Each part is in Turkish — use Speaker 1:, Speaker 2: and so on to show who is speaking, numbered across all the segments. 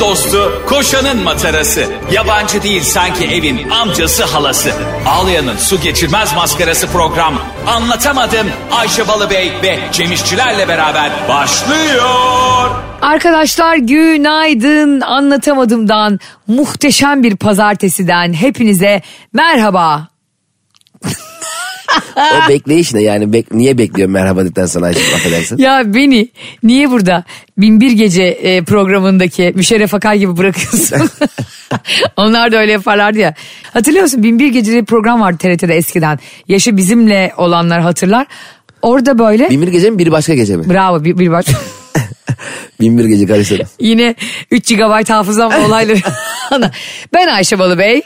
Speaker 1: dostu, koşanın matarası. Yabancı değil sanki evin amcası halası. Ağlayanın su geçirmez maskarası program. Anlatamadım Ayşe Balıbey ve Cemişçilerle beraber başlıyor.
Speaker 2: Arkadaşlar günaydın anlatamadımdan muhteşem bir pazartesiden hepinize merhaba.
Speaker 3: O bekleyiş ne yani bek, niye bekliyorum merhaba dedikten sonra Ayşe affedersin.
Speaker 2: Ya beni niye burada Binbir Gece e, programındaki Müşerref Akay gibi bırakıyorsun? Onlar da öyle yaparlardı ya. Hatırlıyor musun Binbir Gece diye bir program vardı TRT'de eskiden. Yaşı bizimle olanlar hatırlar. Orada böyle
Speaker 3: Binbir gece mi bir başka gece mi?
Speaker 2: bravo bir, bir bak.
Speaker 3: Binbir gece karıştırdım.
Speaker 2: Yine 3 GB hafızam olayları. ben Ayşe Balıbey.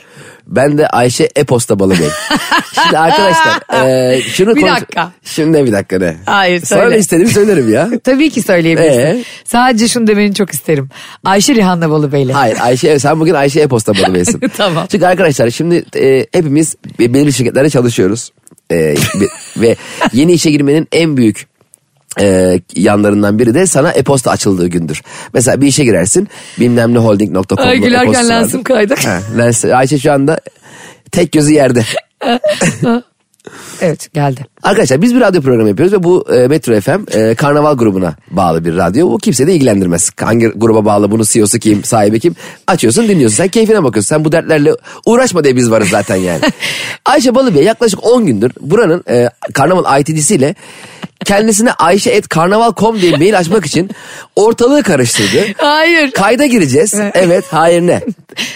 Speaker 3: Ben de Ayşe e-posta balı bey. Şimdi arkadaşlar e, şunu
Speaker 2: Bir
Speaker 3: konuş-
Speaker 2: dakika.
Speaker 3: Şimdi ne bir dakika ne?
Speaker 2: Hayır,
Speaker 3: Sonra
Speaker 2: söyle.
Speaker 3: ne istediğimi söylerim ya.
Speaker 2: Tabii ki söyleyebilirsin.
Speaker 3: Ee?
Speaker 2: Sadece şunu demeni çok isterim. Ayşe Rihanna Balıbey'le.
Speaker 3: Hayır Ayşe sen bugün Ayşe e-posta balı beysin.
Speaker 2: Tamam.
Speaker 3: Çünkü arkadaşlar şimdi e, hepimiz be- belirli şirketlerde çalışıyoruz. E, be- ve yeni işe girmenin en büyük e, yanlarından biri de sana e-posta açıldığı gündür. Mesela bir işe girersin bilmem ne holding.com'da
Speaker 2: Ay, gülerken
Speaker 3: e-postası vardır.
Speaker 2: lensim kaydı.
Speaker 3: Ha, lens- Ayşe şu anda tek gözü yerde.
Speaker 2: Evet geldi.
Speaker 3: Arkadaşlar biz bir radyo programı yapıyoruz ve bu e, Metro FM e, karnaval grubuna bağlı bir radyo. Bu kimse de ilgilendirmez. Hangi gruba bağlı bunun CEO'su kim, sahibi kim? Açıyorsun dinliyorsun. Sen keyfine bakıyorsun. Sen bu dertlerle uğraşma diye biz varız zaten yani. Ayşe Balıbey yaklaşık 10 gündür buranın e, karnaval IT'cisiyle kendisine ayşe.karnaval.com diye mail açmak için ortalığı karıştırdı.
Speaker 2: Hayır.
Speaker 3: Kayda gireceğiz. Evet, hayır ne?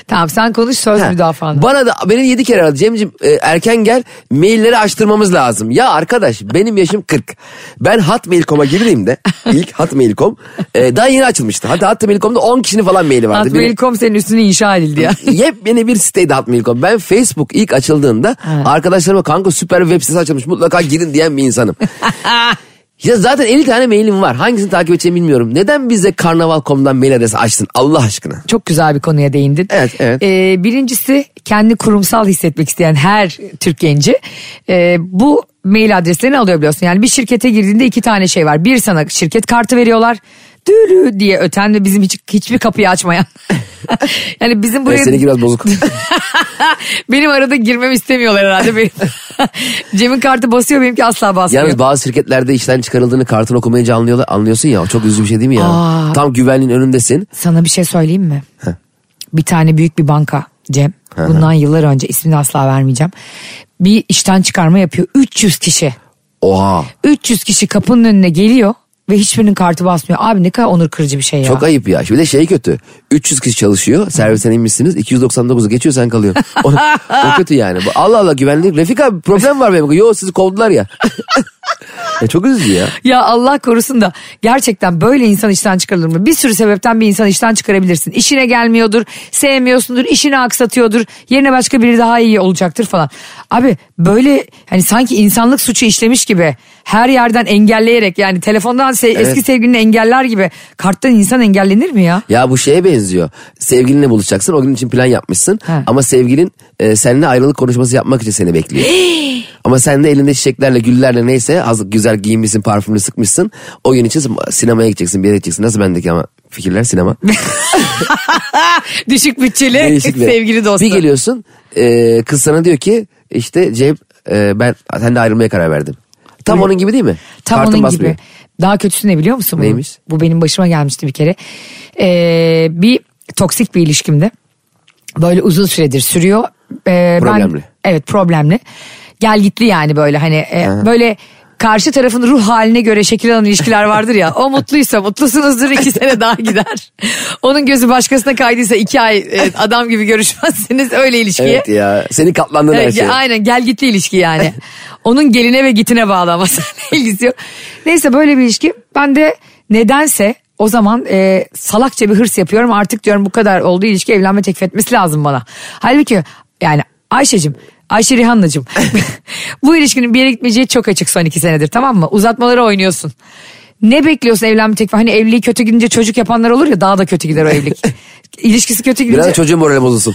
Speaker 2: Tamam sen konuş söz
Speaker 3: Ha,
Speaker 2: müdafanda.
Speaker 3: Bana da beni yedi kere aradı. Cemciğim e, erken gel mailleri açtırmamız lazım. Ya arkadaş benim yaşım 40. Ben Hotmail.com'a girdiğimde ilk Hotmail.com e, daha yeni açılmıştı. Hatta Hotmail.com'da 10 kişinin falan maili vardı. Biri-
Speaker 2: Atmail.com senin üstüne inşa edildi ya.
Speaker 3: Yepyeni bir siteydi Hotmail.com. Ben Facebook ilk açıldığında arkadaşlarıma kanka süper bir web sitesi açılmış mutlaka girin diyen bir insanım. Ah. ya zaten 50 tane mailim var. Hangisini takip edeceğimi bilmiyorum. Neden bize karnaval.com'dan mail adresi açtın Allah aşkına?
Speaker 2: Çok güzel bir konuya değindin.
Speaker 3: Evet, evet.
Speaker 2: Ee, birincisi kendi kurumsal hissetmek isteyen her Türk genci e, bu mail adreslerini alıyor biliyorsun. Yani bir şirkete girdiğinde iki tane şey var. Bir sana şirket kartı veriyorlar. Dülü diye öten ve bizim hiç, hiçbir kapıyı açmayan. yani bizim buraya...
Speaker 3: Evet, E, seninki biraz bozuk.
Speaker 2: benim arada girmemi istemiyorlar herhalde. Benim. Cem'in kartı basıyor benimki asla basmıyor.
Speaker 3: Yalnız bazı şirketlerde işten çıkarıldığını kartını okumayınca anlıyorlar, anlıyorsun ya. O çok üzücü bir şey değil mi ya?
Speaker 2: Aa.
Speaker 3: Tam güvenliğin önündesin.
Speaker 2: Sana bir şey söyleyeyim mi? Bir tane büyük bir banka Cem. Bundan yıllar önce ismini asla vermeyeceğim. Bir işten çıkarma yapıyor. 300 kişi.
Speaker 3: Oha.
Speaker 2: 300 kişi kapının önüne geliyor ve hiçbirinin kartı basmıyor. Abi ne kadar onur kırıcı bir şey ya.
Speaker 3: Çok ayıp ya. Şimdi de şey kötü. 300 kişi çalışıyor. Servisten inmişsiniz. 299'u geçiyor sen kalıyorsun. O, o kötü yani. Bu- Allah Allah güvenlik. Refik abi problem var benim. Yo sizi kovdular ya. ya çok üzücü ya.
Speaker 2: Ya Allah korusun da gerçekten böyle insan işten çıkarılır mı? Bir sürü sebepten bir insan işten çıkarabilirsin. İşine gelmiyordur, sevmiyorsundur, işini aksatıyordur. Yerine başka biri daha iyi olacaktır falan. Abi böyle hani sanki insanlık suçu işlemiş gibi her yerden engelleyerek yani telefondan se- eski sevgilini engeller gibi karttan insan engellenir mi ya?
Speaker 3: Ya bu şeye benziyor. Sevgilinle buluşacaksın. O gün için plan yapmışsın.
Speaker 2: He.
Speaker 3: Ama sevgilin e, seninle ayrılık konuşması yapmak için seni bekliyor. Ama sen de elinde çiçeklerle, güllerle neyse az güzel giyinmişsin, parfümünü sıkmışsın. O gün için sinemaya gideceksin, bir yere gideceksin. Nasıl bendeki ama fikirler sinema.
Speaker 2: Düşük bütçeli
Speaker 3: Değişik bir-
Speaker 2: sevgili dostum.
Speaker 3: Bir geliyorsun e, kız sana diyor ki işte Cem e, ben senden ayrılmaya karar verdim. Tam onun gibi değil mi?
Speaker 2: Tam
Speaker 3: Kartın
Speaker 2: onun
Speaker 3: basmıyor.
Speaker 2: gibi. Daha kötüsü ne biliyor musun? bunun?
Speaker 3: Neymiş?
Speaker 2: Bu benim başıma gelmişti bir kere. Ee, bir toksik bir ilişkimde. Böyle uzun süredir sürüyor. Ee, ben-
Speaker 3: Problemli.
Speaker 2: evet problemli. Gel gitli yani böyle hani e, böyle karşı tarafın ruh haline göre şekillenen ilişkiler vardır ya. O mutluysa mutlusunuzdur iki sene daha gider. Onun gözü başkasına kaydıysa iki ay e, adam gibi görüşmezseniz öyle ilişkiye.
Speaker 3: Evet ya. Seni katlandığın her
Speaker 2: Evet,
Speaker 3: şey.
Speaker 2: Aynen gel gitli ilişki yani. Onun geline ve gitine bağlı ama seninle ilgisi yok. Neyse böyle bir ilişki. Ben de nedense o zaman e, salakça bir hırs yapıyorum. Artık diyorum bu kadar olduğu ilişki evlenme teklif etmesi lazım bana. Halbuki yani Ayşe'cim Ayşe Rihanna'cığım bu ilişkinin bir yere gitmeyeceği çok açık son iki senedir tamam mı? Uzatmaları oynuyorsun. Ne bekliyorsun evlenme teklifi? Hani evliliği kötü gidince çocuk yapanlar olur ya daha da kötü gider o evlilik. ilişkisi kötü gidince.
Speaker 3: Biraz da çocuğun morali bozulsun.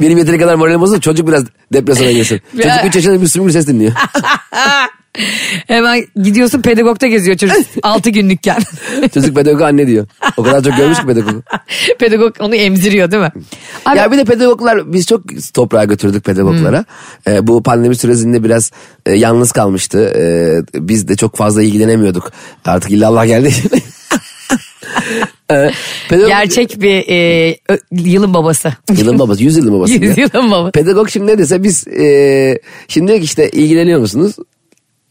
Speaker 3: Benim yeteri kadar moralim bozulsun çocuk biraz depresyona girsin.
Speaker 2: Ya.
Speaker 3: çocuk 3 yaşında bir sürü ses dinliyor.
Speaker 2: Hemen gidiyorsun pedagogta geziyor çocuk 6 günlükken.
Speaker 3: çocuk pedagogu anne diyor. O kadar çok görmüş ki pedagogu.
Speaker 2: Pedagog onu emziriyor değil mi? Abi,
Speaker 3: Ya bir de pedagoglar biz çok toprağa götürdük pedagoglara.
Speaker 2: Hmm.
Speaker 3: Ee, bu pandemi sürecinde biraz e, yalnız kalmıştı. Ee, biz de çok fazla ilgilenemiyorduk. Artık illallah geldi. Ee, pedagog,
Speaker 2: gerçek bir e, ö- yılın babası.
Speaker 3: Yılın babası, yüz yılın babası.
Speaker 2: Yüz
Speaker 3: ya.
Speaker 2: yılın babası.
Speaker 3: Pedagog şimdi ne dese biz e, şimdi diyor ki işte ilgileniyor musunuz?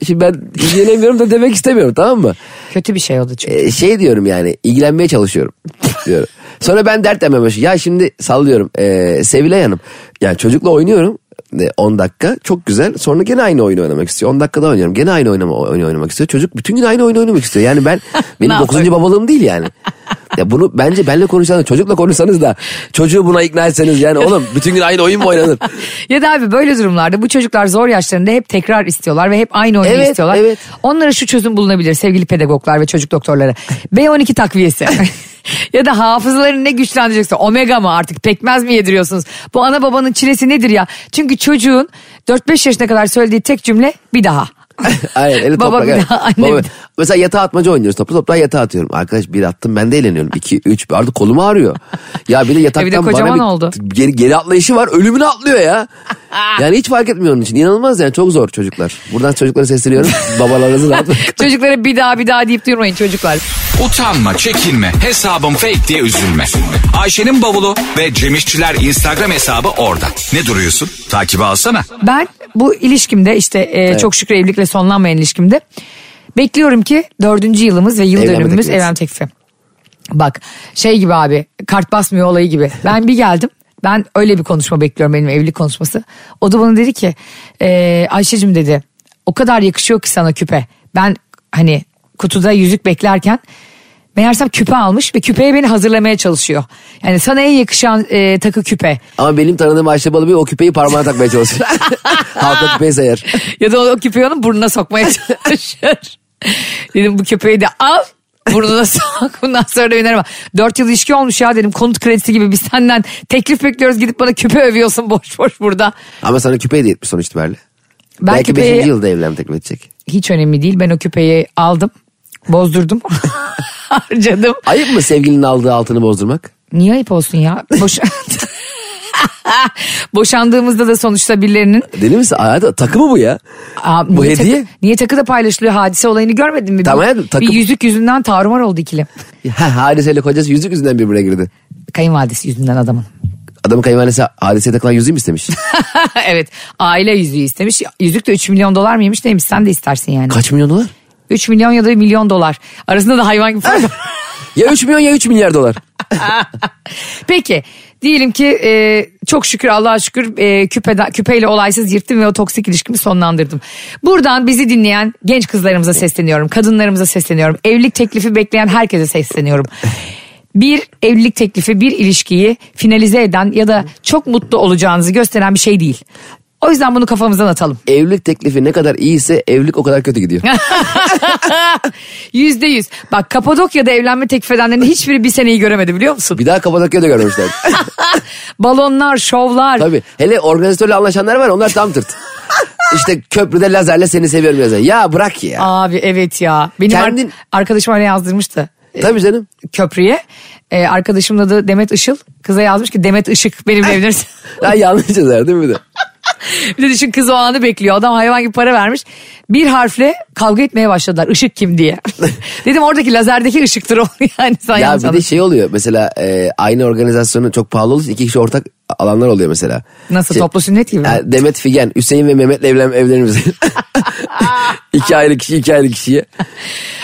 Speaker 3: Şimdi ben ilgilenemiyorum da demek istemiyorum tamam mı?
Speaker 2: Kötü bir şey oldu çünkü.
Speaker 3: E, şey diyorum yani ilgilenmeye çalışıyorum diyorum. Sonra ben dert demeye başlıyorum. Ya şimdi sallıyorum e, Sevilay Hanım. Yani çocukla oynuyorum e, 10 dakika çok güzel. Sonra gene aynı oyunu oynamak istiyor. 10 dakikada oynuyorum. Gene aynı oynama, oyunu oynamak istiyor. Çocuk bütün gün aynı oyunu oynamak istiyor. Yani ben benim
Speaker 2: Ne
Speaker 3: 9.
Speaker 2: yapayım?
Speaker 3: babalığım değil yani. Ya bunu bence benle konuşsanız çocukla konuşsanız da çocuğu buna ikna etseniz yani oğlum bütün gün aynı oyun mu oynanır?
Speaker 2: Ya da abi böyle durumlarda bu çocuklar zor yaşlarında hep tekrar istiyorlar ve hep aynı oyunu
Speaker 3: Evet,
Speaker 2: istiyorlar.
Speaker 3: evet.
Speaker 2: Onlara şu çözüm bulunabilir sevgili pedagoglar ve çocuk doktorları. B12 takviyesi. ya da hafızalarını ne güçlendirecekse omega mı artık pekmez mi yediriyorsunuz? Bu ana babanın çilesi nedir ya? Çünkü çocuğun 4-5 yaşına kadar söylediği tek cümle bir daha.
Speaker 3: Aynen eli
Speaker 2: Baba
Speaker 3: toprak.
Speaker 2: bir
Speaker 3: evet.
Speaker 2: daha, anne bir daha.
Speaker 3: Mesela yatağa atmaca oynuyoruz. Toplu toprağa yatağa atıyorum. Arkadaş bir attım ben de eğleniyorum. İki, üç. Artık kolum ağrıyor. Ya bir de yataktan bana
Speaker 2: kocaman
Speaker 3: bir
Speaker 2: oldu.
Speaker 3: Geri, geri atlayışı var. Ölümüne atlıyor ya. Yani hiç fark etmiyor onun için. İnanılmaz yani. Çok zor çocuklar. Buradan çocuklara sesleniyorum. Babalarınızı rahat bırakın.
Speaker 2: Çocuklara bir daha bir daha deyip durmayın çocuklar.
Speaker 1: Utanma, çekinme, hesabım fake diye üzülme. Ayşe'nin bavulu ve Cemişçiler Instagram hesabı orada. Ne duruyorsun? Takibi alsana.
Speaker 2: Ben bu ilişkimde işte e, çok şükür evlilikle sonlanmayan ilişkimde bekliyorum ki dördüncü yılımız ve yıl
Speaker 3: Evlenme
Speaker 2: dönümümüz
Speaker 3: teklifi.
Speaker 2: evlenme teklifi. Bak şey gibi abi kart basmıyor olayı gibi. Ben bir geldim ben öyle bir konuşma bekliyorum benim evlilik konuşması. O da bana dedi ki e, Ayşe'cim dedi o kadar yakışıyor ki sana küpe. Ben hani kutuda yüzük beklerken meğersem küpe almış ve küpeye beni hazırlamaya çalışıyor. Yani sana en yakışan e, takı küpe.
Speaker 3: Ama benim tanıdığım Ayşe Balıbey o küpeyi parmağına takmaya çalışıyor. Halka küpeyi sayar.
Speaker 2: ya da o köpeği onun burnuna sokmaya çalışır. dedim bu köpeği de al burnuna sok bundan sonra da önerim. Dört yıl ilişki olmuş ya dedim konut kredisi gibi biz senden teklif bekliyoruz gidip bana küpe övüyorsun boş boş burada.
Speaker 3: Ama sana küpeyi de yetmiş sonuç itibariyle.
Speaker 2: Ben
Speaker 3: Belki
Speaker 2: küpeyi-
Speaker 3: 5. yılda evlenme teklif edecek.
Speaker 2: Hiç önemli değil ben o küpeyi aldım bozdurdum harcadım.
Speaker 3: Ayıp mı sevgilinin aldığı altını bozdurmak?
Speaker 2: Niye ayıp olsun ya? Boş... Boşandığımızda da sonuçta birilerinin
Speaker 3: Deli misin? Aa, takı mı bu ya?
Speaker 2: Aa,
Speaker 3: Bu
Speaker 2: niye takı-
Speaker 3: hediye?
Speaker 2: niye takıda paylaşılıyor hadise olayını görmedin mi?
Speaker 3: Tamam
Speaker 2: Bir-
Speaker 3: hayatım, takı-
Speaker 2: bir yüzük yüzünden tarumar oldu ikili.
Speaker 3: Ha, hadiseyle kocası yüzük yüzünden birbirine girdi.
Speaker 2: Kayınvalidesi yüzünden adamın.
Speaker 3: Adamın kayınvalidesi hadiseye takılan yüzüğü mü istemiş?
Speaker 2: evet aile yüzüğü istemiş. Yüzük de 3 milyon dolar mıymış neymiş sen de istersin yani.
Speaker 3: Kaç milyon dolar?
Speaker 2: 3 milyon ya da milyon dolar. Arasında da hayvan gibi fark var.
Speaker 3: Ya 3 milyon ya 3 milyar dolar.
Speaker 2: Peki diyelim ki e, çok şükür Allah'a şükür e, küpede, küpeyle olaysız yırttım ve o toksik ilişkimi sonlandırdım. Buradan bizi dinleyen genç kızlarımıza sesleniyorum. Kadınlarımıza sesleniyorum. Evlilik teklifi bekleyen herkese sesleniyorum. Bir evlilik teklifi bir ilişkiyi finalize eden ya da çok mutlu olacağınızı gösteren bir şey değil. O yüzden bunu kafamızdan atalım.
Speaker 3: Evlilik teklifi ne kadar iyiyse evlilik o kadar kötü gidiyor.
Speaker 2: Yüzde yüz. Bak Kapadokya'da evlenme teklif edenlerin hiçbiri bir seneyi göremedi biliyor musun?
Speaker 3: Bir daha Kapadokya'da da görmemişler.
Speaker 2: Balonlar, şovlar.
Speaker 3: Tabii. Hele organizatörle anlaşanlar var onlar tam tırt. İşte köprüde lazerle seni seviyorum yazar. Ya bırak ya.
Speaker 2: Abi evet ya. Benim
Speaker 3: Kendin-
Speaker 2: ar- arkadaşım öyle yazdırmıştı
Speaker 3: Tabii canım.
Speaker 2: köprüye. Ee, arkadaşımın adı Demet Işıl. Kıza yazmış ki Demet Işık benimle evlenirsin.
Speaker 3: Ya yanlış yazar değil mi bir de?
Speaker 2: bir de düşün kız o anı bekliyor. Adam hayvan gibi para vermiş. Bir harfle kavga etmeye başladılar. Işık kim diye. Dedim oradaki lazerdeki ışıktır o. Yani sen
Speaker 3: Ya
Speaker 2: yanlış
Speaker 3: bir de
Speaker 2: anladın.
Speaker 3: şey oluyor mesela e, aynı organizasyonun çok pahalı olursa iki kişi ortak alanlar oluyor mesela.
Speaker 2: Nasıl,
Speaker 3: Şey,
Speaker 2: toplu sünnet gibi mi?
Speaker 3: Ha, Demet Figen, Hüseyin ve Mehmet'le evlen, evlenir misin? iki ayrı kişi iki ayrı kişiye.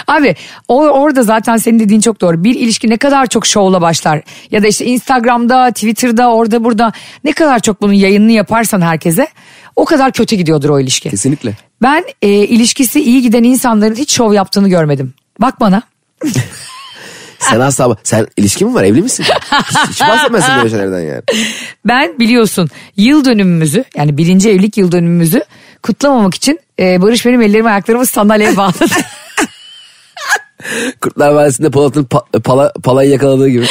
Speaker 2: Abi o, orada zaten senin dediğin çok doğru. Bir ilişki ne kadar çok şovla başlar ya da işte Instagram'da, Twitter'da, orada burada ne kadar çok bunun yayınını yaparsan herkese o kadar kötü gidiyordur o ilişki.
Speaker 3: Kesinlikle.
Speaker 2: Ben e, ilişkisi iyi giden insanların hiç şov yaptığını görmedim. Bak bana.
Speaker 3: Sen asla sen ilişkin mi var evli misin? Hiç, hiç bahsetmezsin böyle şeylerden yani.
Speaker 2: Ben biliyorsun yıl dönümümüzü yani birinci evlilik yıl dönümümüzü kutlamamak için e, Barış benim ellerimi ayaklarımı sandalyeye bağladı.
Speaker 3: Kurtlar Vadisi'nde Polat'ın pa- pala, palayı yakaladığı gibi.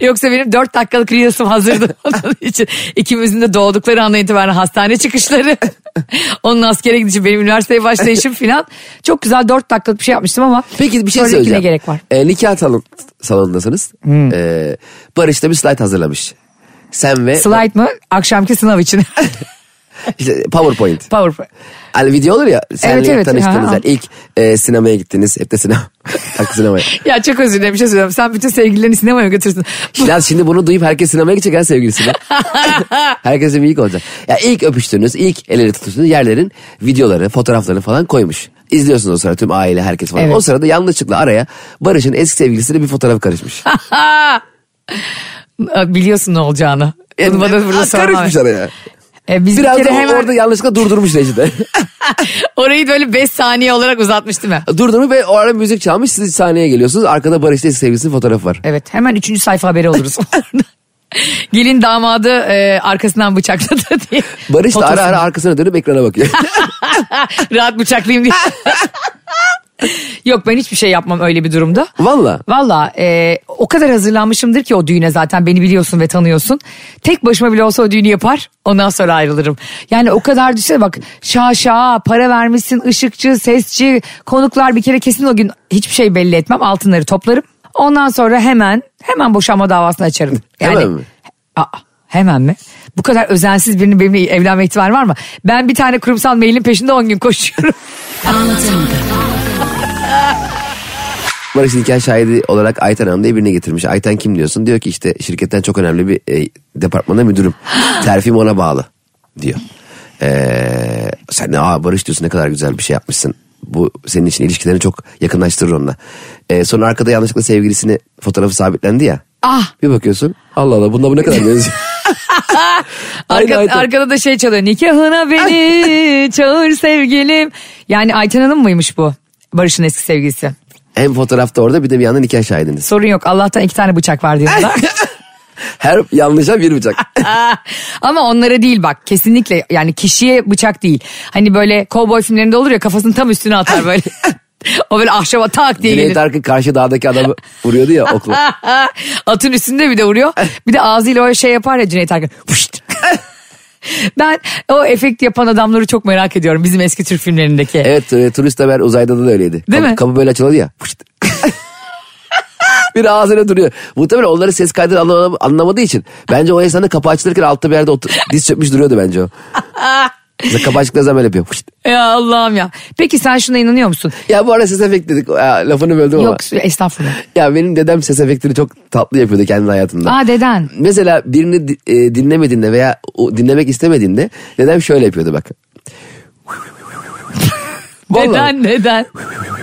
Speaker 2: Yoksa benim 4 dakikalık rüyasım hazırdı onun için. İkimizin de doğdukları andan itibaren hastane çıkışları. Onun askere gidişi, benim üniversiteye başlayışım filan. Çok güzel 4 dakikalık bir şey yapmıştım ama.
Speaker 3: Peki bir şey
Speaker 2: sonrakine
Speaker 3: söyleyeceğim.
Speaker 2: gerek var. Hmm.
Speaker 3: Ee, nikah salon, salonundasınız. Ee, Barış da bir slide hazırlamış. Sen ve
Speaker 2: Slide mı? Akşamki sınav için.
Speaker 3: İşte PowerPoint.
Speaker 2: Power.
Speaker 3: Hani video olur ya. Senle
Speaker 2: Evet, evet.
Speaker 3: tanıştınız.
Speaker 2: Ha, ha.
Speaker 3: Yani ilk e, sinemaya gittiniz. Hep de sinema. Haklı sinemaya.
Speaker 2: Ya çok özür dilerim bir şey söylüyorum. Sen bütün sevgililerini sinemaya mı götürsün. Bu-
Speaker 3: Ya şimdi bunu duyup herkes sinemaya gidecek her sevgilisine. Herkese bir ilk olacak. Ya ilk öpüştüğünüz, ilk el ele tutuştuğunuz yerlerin videoları, fotoğraflarını falan koymuş. İzliyorsunuz o sırada tüm aile, herkes falan.
Speaker 2: Evet.
Speaker 3: O sırada yanlışlıkla araya Barış'ın eski sevgilisiyle bir fotoğraf karışmış.
Speaker 2: Biliyorsun ne olacağını. Bunu bana burada
Speaker 3: E, Ha,
Speaker 2: sorma.
Speaker 3: Karışmış araya.
Speaker 2: E, biz
Speaker 3: Biraz
Speaker 2: bir
Speaker 3: da
Speaker 2: kere
Speaker 3: o-
Speaker 2: hemen
Speaker 3: orada yanlışlıkla durdurmuş rejide.
Speaker 2: orayı böyle 5 saniye olarak uzatmış değil mi?
Speaker 3: Durdurmuş ve o ara müzik çalmış. Siz sahneye geliyorsunuz. Arkada Barış'ın eski sevgilisinin fotoğrafı var.
Speaker 2: Evet hemen üçüncü sayfa haberi oluruz. Gelin damadı e, arkasından bıçakladı diye.
Speaker 3: Barış da ara
Speaker 2: Fotosunu.
Speaker 3: ara arkasına dönüp ekrana bakıyor.
Speaker 2: Rahat bıçaklayayım diye. Yok ben hiçbir şey yapmam öyle bir durumda.
Speaker 3: Valla.
Speaker 2: Valla e, o kadar hazırlanmışımdır ki o düğüne zaten beni biliyorsun ve tanıyorsun. Tek başıma bile olsa o düğünü yapar ondan sonra ayrılırım. Yani o kadar düşünsene bak şaşa para vermişsin ışıkçı sesçi konuklar bir kere kesin o gün hiçbir şey belli etmem altınları toplarım. Ondan sonra hemen hemen boşanma davasını açarım. Yani,
Speaker 3: Hemen mi?
Speaker 2: Aa, hemen mi? Bu kadar özensiz birinin benimle evlenme ihtimali var mı? Ben bir tane kurumsal mailin peşinde 10 gün koşuyorum.
Speaker 3: Barış nikah şahidi olarak Ayten Hanım diye birini getirmiş. Ayten kim diyorsun? Diyor ki işte şirketten çok önemli bir e, departmana müdürüm. Terfim ona bağlı diyor. Ee, sen de aa Barış diyorsun ne kadar güzel bir şey yapmışsın. Bu senin için ilişkilerini çok yakınlaştırır onunla. Ee, sonra arkada yanlışlıkla sevgilisini fotoğrafı sabitlendi ya.
Speaker 2: Ah!
Speaker 3: Bir bakıyorsun Allah Allah bunda bu ne kadar benziyor. Aynı
Speaker 2: Arka,
Speaker 3: Ayten.
Speaker 2: arkada da şey çalıyor. Nikahına beni çağır sevgilim. Yani Ayten Hanım mıymış bu? Barış'ın eski sevgilisi.
Speaker 3: Hem fotoğrafta orada bir de bir yandan nikah şahidiniz.
Speaker 2: Sorun yok Allah'tan iki tane bıçak var diyorlar.
Speaker 3: Her yanlışa bir bıçak.
Speaker 2: Ama onlara değil bak kesinlikle yani kişiye bıçak değil. Hani böyle kovboy filmlerinde olur ya kafasını tam üstüne atar böyle. o böyle ahşaba tak diye
Speaker 3: Cüneyt
Speaker 2: gelir.
Speaker 3: Arkın karşı dağdaki adamı vuruyordu ya okla.
Speaker 2: Atın üstünde bir de vuruyor. Bir de ağzıyla o şey yapar ya Cüneyt Arkın. Fışt. ben o efekt yapan adamları çok merak ediyorum bizim eski Türk filmlerindeki.
Speaker 3: Evet e, turist haber uzayda da öyleydi.
Speaker 2: Değil
Speaker 3: kapı,
Speaker 2: mi?
Speaker 3: kapı böyle açılıyordu ya. Fışt. bir ağzına duruyor. Muhtemelen onları ses kaydını anlam- anlamadığı için. Bence o esnada kapı açılırken altta bir yerde otur- diz çökmüş duruyordu bence o. Mesela kapı açıklığı zaman böyle yapıyor. Fışt.
Speaker 2: Ya Allah'ım ya. Peki sen şuna inanıyor musun?
Speaker 3: Ya bu arada ses efekti dedik. Ya, lafını böldüm ama.
Speaker 2: Yok estağfurullah.
Speaker 3: Ya benim dedem ses efektini çok tatlı yapıyordu kendi hayatında.
Speaker 2: Aa, deden.
Speaker 3: Mesela birini di- e, dinlemediğinde veya o dinlemek istemediğinde dedem şöyle yapıyordu bak. Vallahi.
Speaker 2: Neden neden?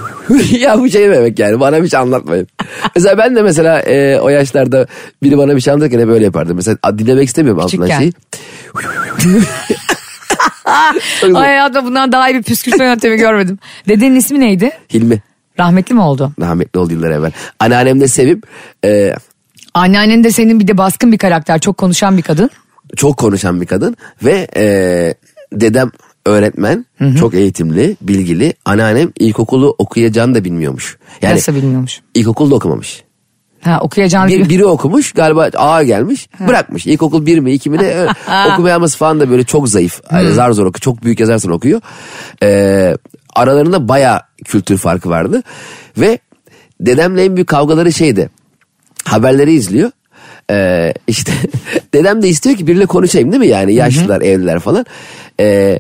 Speaker 3: ya bu şey demek yani bana bir şey anlatmayın. mesela ben de mesela e, o yaşlarda biri bana bir şey anlatırken hep böyle yapardım. Mesela a, dinlemek istemiyorum altından
Speaker 2: Küçükken.
Speaker 3: şeyi.
Speaker 2: Ay hayatımda bundan daha iyi bir püskürtme yöntemi görmedim. Dedenin ismi neydi?
Speaker 3: Hilmi
Speaker 2: Rahmetli mi oldu?
Speaker 3: rahmetli oldu yıllar evvel. Anneannem de sevip e,
Speaker 2: Anneannen de senin bir de baskın bir karakter. Çok konuşan bir kadın.
Speaker 3: çok konuşan bir kadın ve e, dedem öğretmen çok eğitimli bilgili anneannem ilkokulu okuyacağını da bilmiyormuş. Yani
Speaker 2: Nasıl bilmiyormuş?
Speaker 3: ilkokulda okumamış.
Speaker 2: Ha okuyacağını
Speaker 3: Bir,
Speaker 2: bir,
Speaker 3: biri okumuş galiba ağa gelmiş bırakmış. İlkokul bir mi iki mi ne okumayamaz falan da böyle çok zayıf. Yani zar zor okuyor. Çok büyük yazarsan okuyor. Ee, aralarında baya kültür farkı vardı. Ve dedemle en büyük kavgaları şeydi. Haberleri izliyor. Ee, işte dedem de istiyor ki biriyle konuşayım değil mi yani yaşlılar evliler falan. Ee,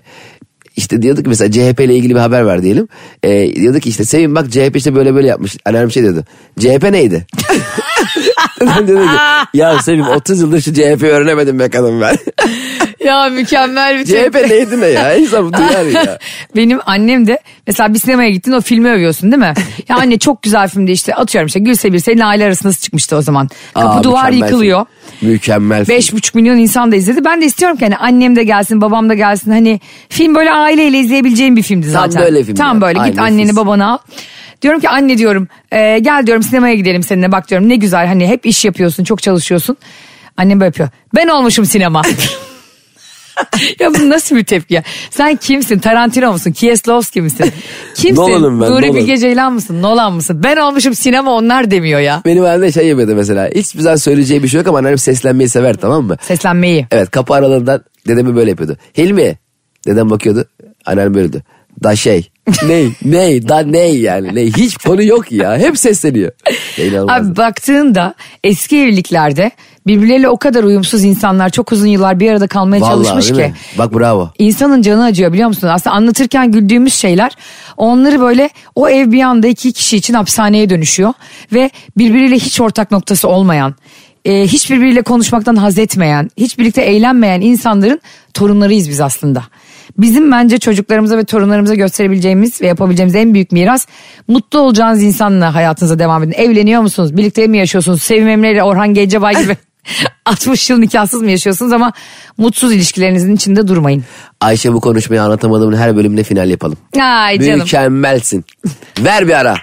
Speaker 3: işte diyorduk ki mesela CHP ile ilgili bir haber var diyelim. Ee, diyorduk ki işte Sevin bak CHP işte böyle böyle yapmış. Annem şey diyordu. CHP neydi? Adam dedi ki ya Sevim 30 yıldır şu CHP 'yi öğrenemedim be kadın ben.
Speaker 2: Ya mükemmel bir şey.
Speaker 3: CHP neydi ne ya? İnsan duyar ya.
Speaker 2: Benim annem de mesela bir sinemaya gittin o filmi övüyorsun değil mi? Ya anne çok güzel filmdi işte atıyorum işte Gülse Birsel'in aile arası nasıl çıkmıştı o zaman. Kapı
Speaker 3: Aa,
Speaker 2: duvar
Speaker 3: mükemmel
Speaker 2: yıkılıyor.
Speaker 3: film. Mükemmel film.
Speaker 2: Beş buçuk milyon insan da izledi. Ben de istiyorum ki hani annem de gelsin, babam da gelsin. Hani film böyle aileyle izleyebileceğim bir filmdi
Speaker 3: Tam
Speaker 2: zaten.
Speaker 3: böyle film
Speaker 2: Tam
Speaker 3: ya.
Speaker 2: böyle. Git
Speaker 3: Aynı
Speaker 2: anneni
Speaker 3: his.
Speaker 2: babana al. Diyorum ki anne diyorum "e, gel diyorum sinemaya gidelim seninle bak diyorum ne güzel hani hep iş yapıyorsun çok çalışıyorsun. Annem böyle yapıyor. Ben olmuşum sinema. ya bu nasıl bir tepki ya? Sen kimsin? Tarantino musun? Kieslowski misin? Kimsin?
Speaker 3: Nolan'ım ben,
Speaker 2: Nuri
Speaker 3: Nolan.
Speaker 2: Bilge Ceylan mısın? Nolan mısın? Ben olmuşum sinema onlar demiyor ya.
Speaker 3: Benim annem şey yapıyordu mesela. Hiç güzel söyleyeceği bir şey yok ama annem seslenmeyi sever tamam mı?
Speaker 2: Seslenmeyi.
Speaker 3: Evet kapı aralarından dedemi böyle yapıyordu. Hilmi. Dedem bakıyordu. Annem böyle diyordu. Da şey. ney ney da ney yani ney hiç konu yok ya hep sesleniyor. Ya inanılmaz.
Speaker 2: Abi baktığında eski evliliklerde birbirleriyle o kadar uyumsuz insanlar çok uzun yıllar bir arada kalmaya
Speaker 3: Vallahi
Speaker 2: çalışmış
Speaker 3: değil
Speaker 2: ki.
Speaker 3: mi? Bak bravo.
Speaker 2: İnsanın canı acıyor biliyor musun? Aslında anlatırken güldüğümüz şeyler onları böyle o ev bir anda iki kişi için hapishaneye dönüşüyor. Ve birbiriyle hiç ortak noktası olmayan, e, hiç birbiriyle konuşmaktan haz etmeyen, hiç birlikte eğlenmeyen insanların torunlarıyız biz aslında. Bizim bence çocuklarımıza ve torunlarımıza gösterebileceğimiz ve yapabileceğimiz en büyük miras mutlu olacağınız insanla hayatınıza devam edin. Evleniyor musunuz? Birlikte mi yaşıyorsunuz? Sevim Emre ile Orhan Gencebay gibi 60 yıl nikahsız mı yaşıyorsunuz ama mutsuz ilişkilerinizin içinde durmayın.
Speaker 3: Ayşe bu konuşmayı anlatamadığımın her bölümüne final yapalım.
Speaker 2: Ay canım.
Speaker 3: Mükemmelsin. Ver bir ara.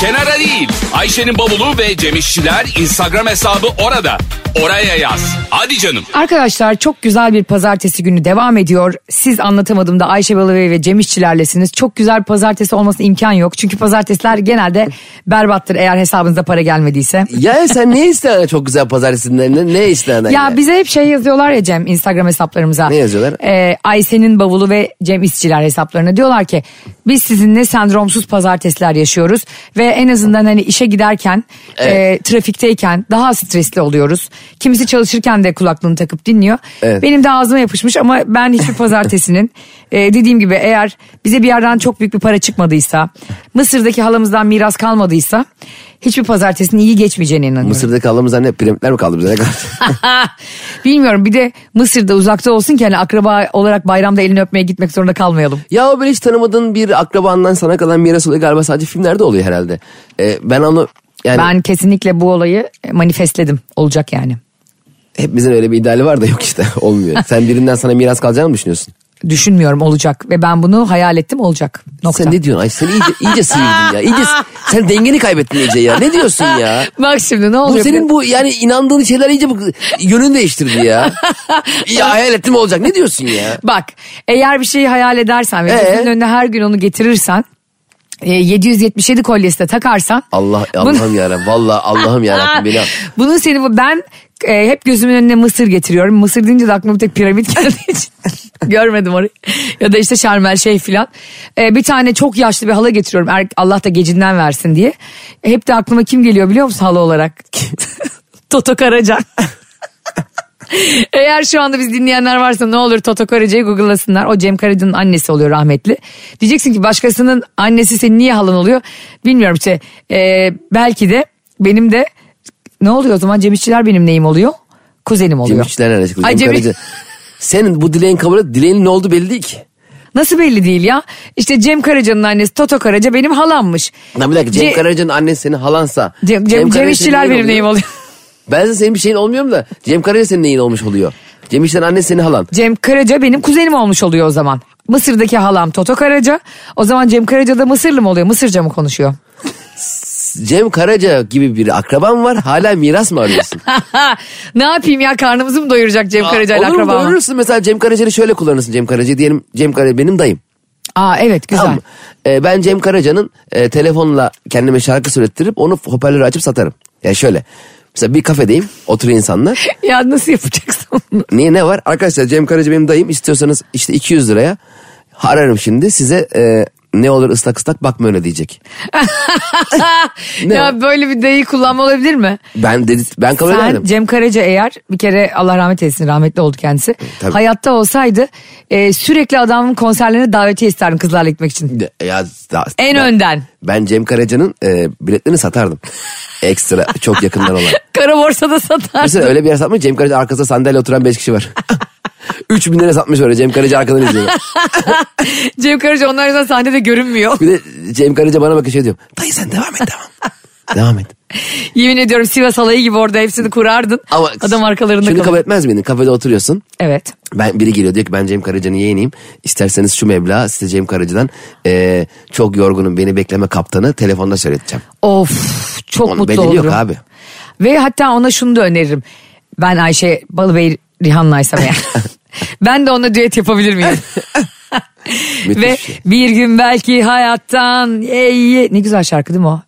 Speaker 1: Kenara değil. Ayşe'nin bavulu ve Cemişçiler Instagram hesabı orada. Oraya yaz. Hadi canım.
Speaker 2: Arkadaşlar çok güzel bir pazartesi günü devam ediyor. Siz anlatamadığımda Ayşe Balıbey ve Cem İşçilerlesiniz. Çok güzel bir pazartesi olmasına imkan yok. Çünkü pazartesiler genelde berbattır eğer hesabınıza para gelmediyse.
Speaker 3: ya sen ne istedin çok güzel pazartesinden ne, ne istedin?
Speaker 2: Ya bize hep şey yazıyorlar ya Cem Instagram hesaplarımıza.
Speaker 3: Ne yazıyorlar?
Speaker 2: Ee, Ayşe'nin bavulu ve Cem İşçiler hesaplarına diyorlar ki biz sizinle sendromsuz pazartesiler yaşıyoruz ve en azından hani işe giderken e, trafikteyken daha stresli oluyoruz. Kimisi çalışırken de kulaklığını takıp dinliyor.
Speaker 3: Evet.
Speaker 2: Benim de ağzıma yapışmış ama ben hiçbir pazartesinin e, dediğim gibi eğer bize bir yerden çok büyük bir para çıkmadıysa Mısır'daki halamızdan miras kalmadıysa hiçbir pazartesinin iyi geçmeyeceğine inanıyorum.
Speaker 3: Mısır'da kaldığımızda ne piramitler mi kaldı bize ne kaldı?
Speaker 2: Bilmiyorum bir de Mısır'da uzakta olsun ki hani akraba olarak bayramda elini öpmeye gitmek zorunda kalmayalım.
Speaker 3: Ya o böyle hiç tanımadığın bir akrabandan sana kalan miras oluyor galiba sadece filmlerde oluyor herhalde. Ee, ben onu yani
Speaker 2: Ben kesinlikle bu olayı manifestledim olacak yani.
Speaker 3: hepimizin öyle bir ideali var da yok işte olmuyor. Sen birinden sana miras kalacağını mı düşünüyorsun?
Speaker 2: Düşünmüyorum olacak ve ben bunu hayal ettim olacak. Nokta.
Speaker 3: Sen ne diyorsun Ayşe sen iyice, iyice sıyırdın ya. İyice, sen dengeni kaybettin iyice ya. Ne diyorsun ya?
Speaker 2: Bak şimdi ne
Speaker 3: Bu
Speaker 2: oluyor?
Speaker 3: senin bu yani inandığın şeyler iyice bu yönünü değiştirdi ya. ya hayal ettim olacak ne diyorsun ya?
Speaker 2: Bak eğer bir şeyi hayal edersen ve
Speaker 3: Ee?
Speaker 2: gözünün önüne her gün onu getirirsen e, 777 kolyesi de takarsan
Speaker 3: Allah
Speaker 2: bunu-
Speaker 3: Allah'ım yarabbim vallahi Allah'ım yarabbim beni. al.
Speaker 2: Bunun seni bu ben e, hep gözümün önüne mısır getiriyorum. Mısır deyince de aklıma bir tek piramit geldiği için görmedim orayı. Ya da işte şarmel şey filan. E, bir tane çok yaşlı bir hala getiriyorum. Er- Allah da gecinden versin diye. E, hep de aklıma kim geliyor biliyor musun hala olarak? Toto Karaca. Eğer şu anda biz dinleyenler varsa ne olur Toto Karaca'yı google'lasınlar. O Cem Karaca'nın annesi oluyor rahmetli. Diyeceksin ki başkasının annesi senin niye halan oluyor? Bilmiyorum işte e, belki de benim de ne oluyor o zaman Cem İşçiler benim neyim oluyor? Kuzenim oluyor.
Speaker 3: Cem İşçiler nerede çıktı?
Speaker 2: Ay,
Speaker 3: Cem
Speaker 2: Cem-
Speaker 3: Karaca. Senin bu dileğin kabul et. Dileğinin ne oldu belli değil ki.
Speaker 2: Nasıl belli değil ya? İşte Cem Karaca'nın annesi Toto Karaca benim halammış.
Speaker 3: Lan bir dakika Cem
Speaker 2: Ce-
Speaker 3: Karaca'nın annesi senin halansa.
Speaker 2: Cem, Cem, Cem
Speaker 3: Karaca
Speaker 2: İşçiler
Speaker 3: senin
Speaker 2: benim neyim oluyor?
Speaker 3: Ben de senin bir şeyin olmuyorum da Cem Karaca senin neyin olmuş oluyor. Cem İşçilerin annesi senin halan.
Speaker 2: Cem Karaca benim kuzenim olmuş oluyor o zaman. Mısır'daki halam Toto Karaca. O zaman Cem Karaca da Mısırlı mı oluyor? Mısırca mı konuşuyor?
Speaker 3: Cem Karaca gibi bir akraban var hala miras mı arıyorsun?
Speaker 2: ne yapayım ya karnımızı mı doyuracak Cem Karaca ile
Speaker 3: Olur mu?
Speaker 2: akrabam?
Speaker 3: Doğurursun mesela Cem Karaca'yı şöyle kullanırsın Cem Karaca'yı diyelim Cem Karaca benim dayım.
Speaker 2: Aa evet güzel.
Speaker 3: Tamam mı? Ee, ben Cem Karaca'nın e, telefonla kendime şarkı söylettirip onu hoparlörü açıp satarım. Yani şöyle. Mesela bir kafedeyim oturuyor insanlar.
Speaker 2: Ya nasıl yapacaksın onu?
Speaker 3: Niye ne var? Arkadaşlar Cem Karaca benim dayım istiyorsanız işte 200 liraya ararım şimdi size e, ne olur ıslak ıslak bakma öyle diyecek. Ne
Speaker 2: ya
Speaker 3: var?
Speaker 2: böyle bir dayı kullanma olabilir mi?
Speaker 3: Ben dedi, ben kabul
Speaker 2: Sen
Speaker 3: ederdim.
Speaker 2: Cem Karaca eğer bir kere Allah rahmet eylesin rahmetli oldu kendisi.
Speaker 3: Tabii.
Speaker 2: Hayatta olsaydı e, sürekli adamın konserlerine davetiye isterdim kızlarla gitmek için.
Speaker 3: De- Ya, da-
Speaker 2: En
Speaker 3: ben-
Speaker 2: önden.
Speaker 3: Ben Cem Karaca'nın e, biletlerini satardım. Ekstra çok yakından olan.
Speaker 2: Kara borsada satar.
Speaker 3: Mesela öyle bir yer satmış Cem Karaca arkasında sandalye oturan 5 kişi var. 3000 lira satmış öyle Cem Karaca arkadan izliyor.
Speaker 2: Cem Karaca onlar yüzden sahnede görünmüyor.
Speaker 3: Bir de Cem Karaca bana bakıyor şey diyor. Dayı sen devam et devam. devam et.
Speaker 2: Yemin ediyorum Sivas alayı gibi orada hepsini kurardın.
Speaker 3: Ama
Speaker 2: Adam arkalarında
Speaker 3: Şunu
Speaker 2: kalır.
Speaker 3: kabul etmez miydin? Kafede oturuyorsun.
Speaker 2: Evet.
Speaker 3: Ben biri geliyor diyor ki ben Cem Karaca'nın yeğeniyim. İsterseniz şu meblağ size Cem Karaca'dan e, eee, çok yorgunum beni bekleme kaptanı telefonda söyleteceğim.
Speaker 2: Of çok
Speaker 3: Onun
Speaker 2: mutlu
Speaker 3: bedeli
Speaker 2: olurum.
Speaker 3: yok abi.
Speaker 2: Ve hatta ona şunu da öneririm. Ben Ayşe Balıbey Rihanna'ysam eğer. ben de onunla düet yapabilir miyim?
Speaker 3: Müthiş
Speaker 2: Ve
Speaker 3: bir şey.
Speaker 2: bir gün belki hayattan ey ne güzel şarkı değil mi o?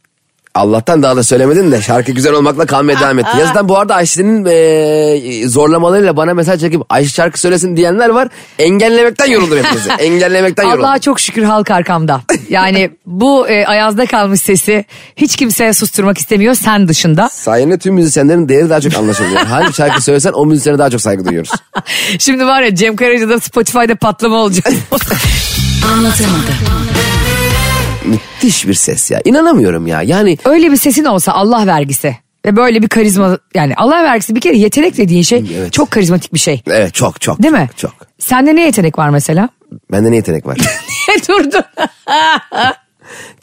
Speaker 3: Allah'tan daha da söylemedin de şarkı güzel olmakla kalmaya devam etti. Yazıdan bu arada Ayşe'nin eee, zorlamalarıyla bana mesaj çekip Ayşe şarkı söylesin diyenler var. Engellemekten yoruldum hepinizi. Engellemekten yoruldum.
Speaker 2: Allah'a çok şükür halk arkamda. Yani bu e, ayazda kalmış sesi hiç kimseye susturmak istemiyor sen dışında.
Speaker 3: Sayende tüm müzisyenlerin değeri daha çok anlaşılıyor. Hangi şarkı söylesen o müzisyene daha çok saygı duyuyoruz.
Speaker 2: Şimdi var ya Cem Karaca'da Spotify'da patlama olacak.
Speaker 3: Müthiş bir ses ya. İnanamıyorum ya. Yani
Speaker 2: Öyle bir sesin olsa Allah vergisi ve böyle bir karizma yani Allah vergisi bir kere yetenek dediğin şey
Speaker 3: Evet.
Speaker 2: çok karizmatik bir şey.
Speaker 3: evet çok çok.
Speaker 2: Değil mi?
Speaker 3: Çok.
Speaker 2: Sende ne yetenek var mesela?
Speaker 3: Bende ne yetenek var?
Speaker 2: Durdun.